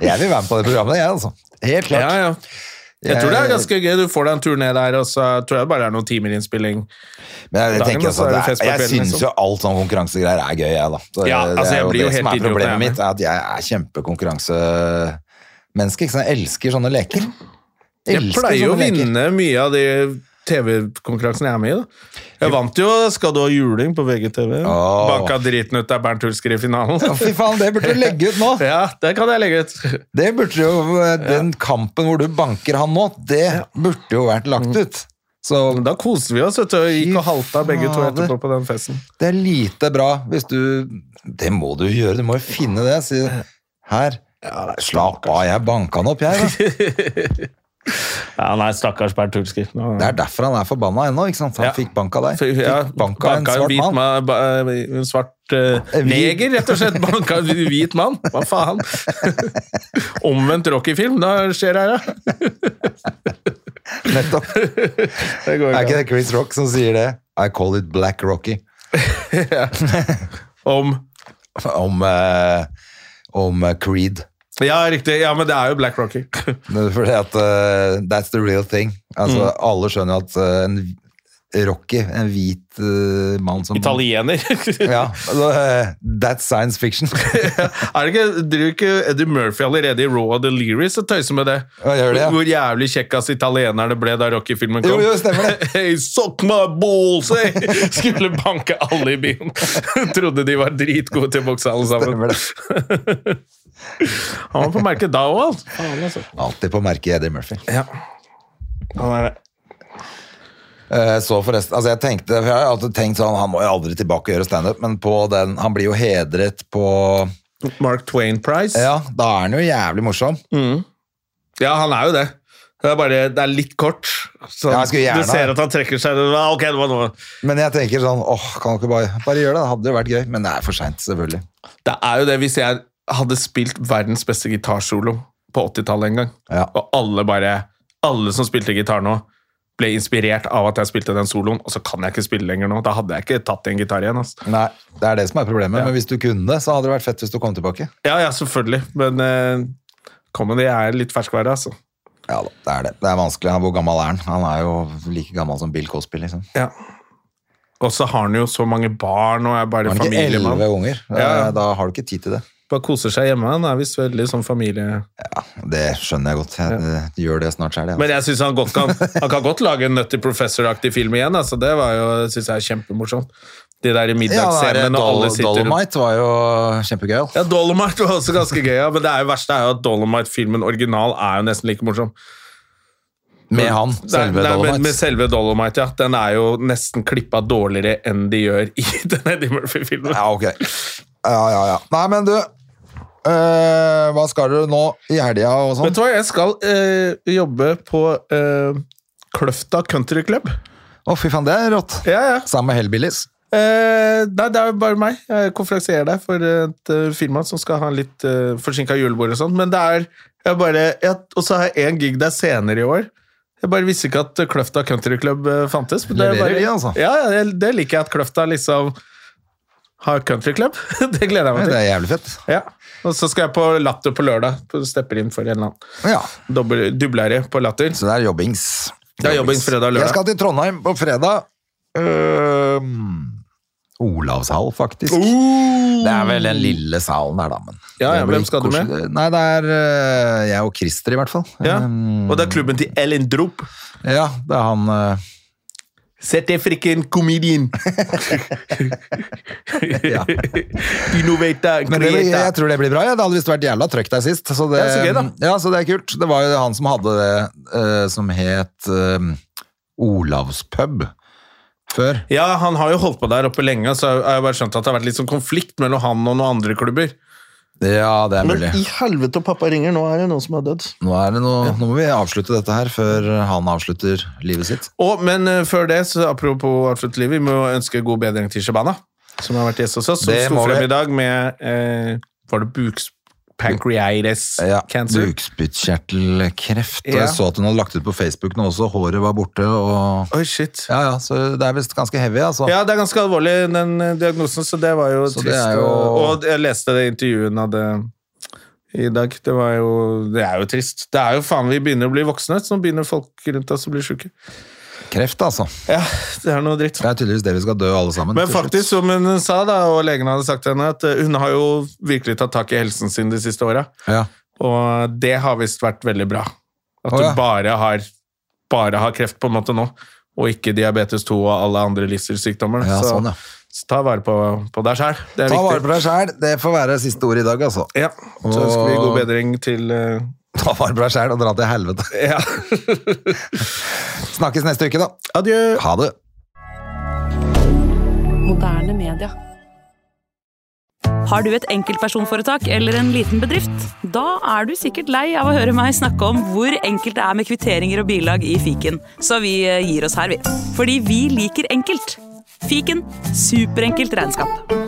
B: Jeg vil være med på det programmet, jeg, altså. Helt klart.
A: Ja, ja. Jeg tror det er ganske gøy. Du får deg en tur ned der, og så tror jeg det bare er noen timer innspilling.
B: Men jeg,
A: dagen,
B: tenker
A: og så
B: altså,
A: er
B: det
A: det fest
B: er,
A: på
B: jeg
A: kvelden,
B: syns
A: liksom.
B: jo alt sånn konkurransegreier er gøy, jeg, da. Så
A: Ja, altså, jeg blir jo
B: det som er
A: helt idiot når jeg er
B: problemet
A: med.
B: mitt, er at jeg er kjempekonkurransemenneske. Ikke sant? Jeg elsker sånne leker.
A: Jeg pleier jo å vinne mye av de TV-konkurransene jeg er med i. da. Jeg vant jo Skal du ha juling på VGTV.
B: Åh.
A: Banka driten ut av Bernt Hulsker i finalen.
B: Ja, fy faen, det burde du legge ut nå!
A: <laughs> Ja, det kan jeg legge ut.
B: Det burde jo, eh, Den kampen hvor du banker han nå, det burde jo vært
A: Mm.
B: lagt ut. Så
A: Men Da koste vi oss vet du, og gikk og halta begge to
B: fader.
A: etterpå på den festen.
B: Det er lite bra hvis du Det må du gjøre, du må jo finne det. Si her. Slapp av, jeg banka han opp, jeg. Da.
A: Ja, nei, stakkars Bernt Hulsker. Nå-
B: Det er derfor han er forbanna ennå. ikke sant? Han
A: Ja.
B: fikk bank av deg. Fikk
A: Ja,
B: bank av en svart
A: hvit
B: mann.
A: ma- ba- En svart eh,
B: En hvit-
A: neger, rett og slett. Banka en hvit mann. Hva <laughs> faen? Omvendt Rocky-film, da skjer det her, ja.
B: Nettopp.
A: Det går
B: Er
A: ikke.
B: <laughs> ikke det Chris Rock som sier det? I call it Black Rocky.
A: Om
B: om, eh, om eh, Creed.
A: Ja, riktig. Ja, men det er jo Black Rocky.
B: Men Fordi at eh, that's the real thing. Altså, Alle skjønner at eh, en Rocky, en hvit eh, mann som
A: Italiener.
B: Ja, altså, eh, that's science <laughs> fiction.
A: <laughs> Er det ikke, driver ikke Eddie Murphy allerede i Raw of the Learies og tøyser med det?
B: Ja, gjør det, ja.
A: Hvor jævlig kjekkas italienerne ble da Rocky-filmen kom.
B: Jo, jo, stemmer det.
A: <laughs> Hey, suck my balls!
B: <laughs>
A: Hey! Skulle banke alle i byen. <laughs> Trodde de var dritgode til å bokse alle sammen.
B: Stemmer det.
A: <laughs> Han var på merket da òg, altså.
B: Alltid på merket Eddie Murphy.
A: Ja. Han er det.
B: Eh, Så forresten, altså jeg tenkte for jeg har alltid tenkt sånn, Han må jo aldri tilbake og gjøre standup, men på den, han blir jo hedret på
A: Mark Twain Price.
B: Ja, da er han jo jævlig morsom.
A: Ja, han er jo det. Det er bare det er litt kort. Så
B: Ja, jeg skulle gjerne-
A: du ser at han trekker seg. Ja, Ok, det var noe.
B: Men jeg tenker sånn åh, kan du ikke bare, bare gjøre det? Det hadde jo vært gøy. Men det er for seint, selvfølgelig.
A: Det er jo det hvis jeg hadde spilt verdens beste gitarsolo på 80-tallet en gang,
B: Ja.
A: og alle bare, alle som spilte gitar nå, ble inspirert av at jeg spilte den soloen, og så kan jeg ikke spille lenger nå. Da hadde jeg ikke tatt en gitar igjen. Altså.
B: Nei, Det er det som er problemet. Men hvis du kunne det, så hadde det vært fett hvis du kom tilbake.
A: Ja, ja, selvfølgelig, men eh, comedy er litt ferskvære, altså.
B: Ja da, det er det. Det er vanskelig. Hvor gammel er han? Han er jo like gammel som Bill Cosby, liksom.
A: Ja. Og så har han jo så mange barn, og er bare
B: Har han ikke
A: familiemann.
B: elleve unger?
A: Ja, ja.
B: Eh, Da har du ikke tid til det.
A: Bare koser seg hjemme, han er visst veldig sånn familie...
B: Ja, Det skjønner jeg godt. Jeg eh, gjør det snart sjøl, jeg.
A: Men jeg synes han godt kan Han kan godt lage en Nutty Professor-aktig film igjen. Altså. Det var jo, synes jeg er kjempemorsomt. De der i
B: altså. Ja, det er,
A: middagsscenen
B: Dol
A: og alle sitter rundt.
B: Dolomite var jo kjempegøy. Ja,
A: Ja, Dolomite var også ganske gøy, ja. men det er jo verste er jo at Dolomite-filmen original er jo nesten like morsom.
B: Med han,
A: Det er-
B: selve
A: det er-
B: Dolomite.
A: Med, med selve Dolomite, ja. Den er jo nesten klippa dårligere enn de gjør i <laughs> den Eddie Murphy-filmen.
B: Ja, ok. Ja, ja, ja. Nei, men du, øh, hva skal du nå i helga og
A: Vet
B: sånn?
A: du hva, jeg skal eh, jobbe på eh, Kløfta Country Club.
B: Å, fy faen, det er rått.
A: Ja, ja.
B: Sammen med Hellbillies.
A: Eh, nei, det er jo bare meg. Jeg konferansierer deg for et uh, firma som skal ha en litt uh, forsinka julebord og sånn. Men det er jeg bare jeg, Og så har jeg én gig der senere i år. Jeg bare visste ikke at eh, Kløfta Country Club eh, fantes. men er
B: Leverer
A: bare,
B: de, altså?
A: Ja, ja, det, det liker jeg at Kløfta liksom har country club. <laughs> det gleder
B: Ja,
A: jeg meg
B: Det
A: til.
B: er jævlig fett.
A: Ja. Og så skal jeg på Latter på lørdag. på- Stepper inn for en eller annen
B: Ja,
A: dobbel- dublere på Latter.
B: så det er jobbings.
A: Det er jobbing fredag og lørdag.
B: Jeg skal til Trondheim på fredag. Øhm, Olavshall, faktisk. Det er vel den lille salen der, da. Men
A: Oh! Ja, ja,
B: det blir
A: hvem skal du med?
B: koselig. Nei, det er øh, jeg og Christer, i hvert fall.
A: Ja.
B: Ehm,
A: Og det er klubben til Ellen Drop.
B: ja det er han øh,
A: Sett deg frikken comedian.
B: <laughs> Ja.
A: Innovator,
B: Men det, blir- jeg
A: creator.
B: tror det blir bra. Ja. Det hadde visst vært jævla trøkk der sist. Så det,
A: Ja, så gøy da.
B: Ja, så det er kult. Det var jo han som hadde det eh, som het eh, Olavspub før.
A: Ja, han har jo holdt på der oppe lenge, så jeg har bare skjønt at det har vært litt sånn konflikt mellom han og noen andre klubber.
B: Ja, det er mulig.
A: helvete, og pappa ringer, nå er det noen som har dødd.
B: Nå, er det noe, nå må vi avslutte dette her før han avslutter livet sitt.
A: Og, men eh, før det, så apropos Artfut Liv, vi må ønske god bedring til Shabana, som har vært gjest hos oss, som
B: Det
A: sto
B: må vi.
A: frem i dag med eh, Var det buks... Pancreatis
B: Ja,
A: cancer?
B: Bukspyttkjertelkreft. Og
A: Ja.
B: jeg så at hun hadde lagt ut på Facebook nå også. Håret var borte og
A: Oi, shit.
B: Ja ja, så det er visst ganske heavy, altså.
A: Ja, det er ganske alvorlig, den eh, diagnosen, så det var jo
B: Så det
A: trist.
B: er jo-
A: og- Og jeg leste det intervjuet hun hadde i dag. Det, var jo, det er jo trist. Det er jo faen vi begynner å bli voksne, så nå begynner folk rundt oss å bli sjuke.
B: Kreft, altså.
A: Ja, det er noe dritt.
B: Det er tydeligvis det vi skal dø alle sammen.
A: Men
B: til slutt.
A: faktisk, som hun sa, da, og legen hadde sagt til henne, at eh, hun har jo virkelig tatt tak i helsen sin de siste åra.
B: ja.
A: Og det har visst vært veldig bra. At
B: Å, ja.
A: du bare har, bare har kreft på en måte nå, og ikke diabetes 2 og alle andre livsstilssykdommer.
B: Ja,
A: så
B: sånn, ja.
A: så ta vare på, på deg sjæl. Det er
B: Ta
A: viktig.
B: vare på deg sjæl. Det får være siste ord i dag, altså.
A: Ja, så ønsker vi god bedring til eh, <laughs>
B: Ta vare på deg sjæl og dra til helvete.
A: Ja.
B: Snakkes neste uke, da.
A: Adjø.
B: Ha det.
C: Moderne media.
D: Har du et enkeltpersonforetak eller en liten bedrift? Da er du sikkert lei av å høre meg snakke om hvor enkelt det er med kvitteringer og bilag i fiken, så vi eh, gir oss her, vi. Fordi vi liker enkelt. Fiken superenkelt regnskap.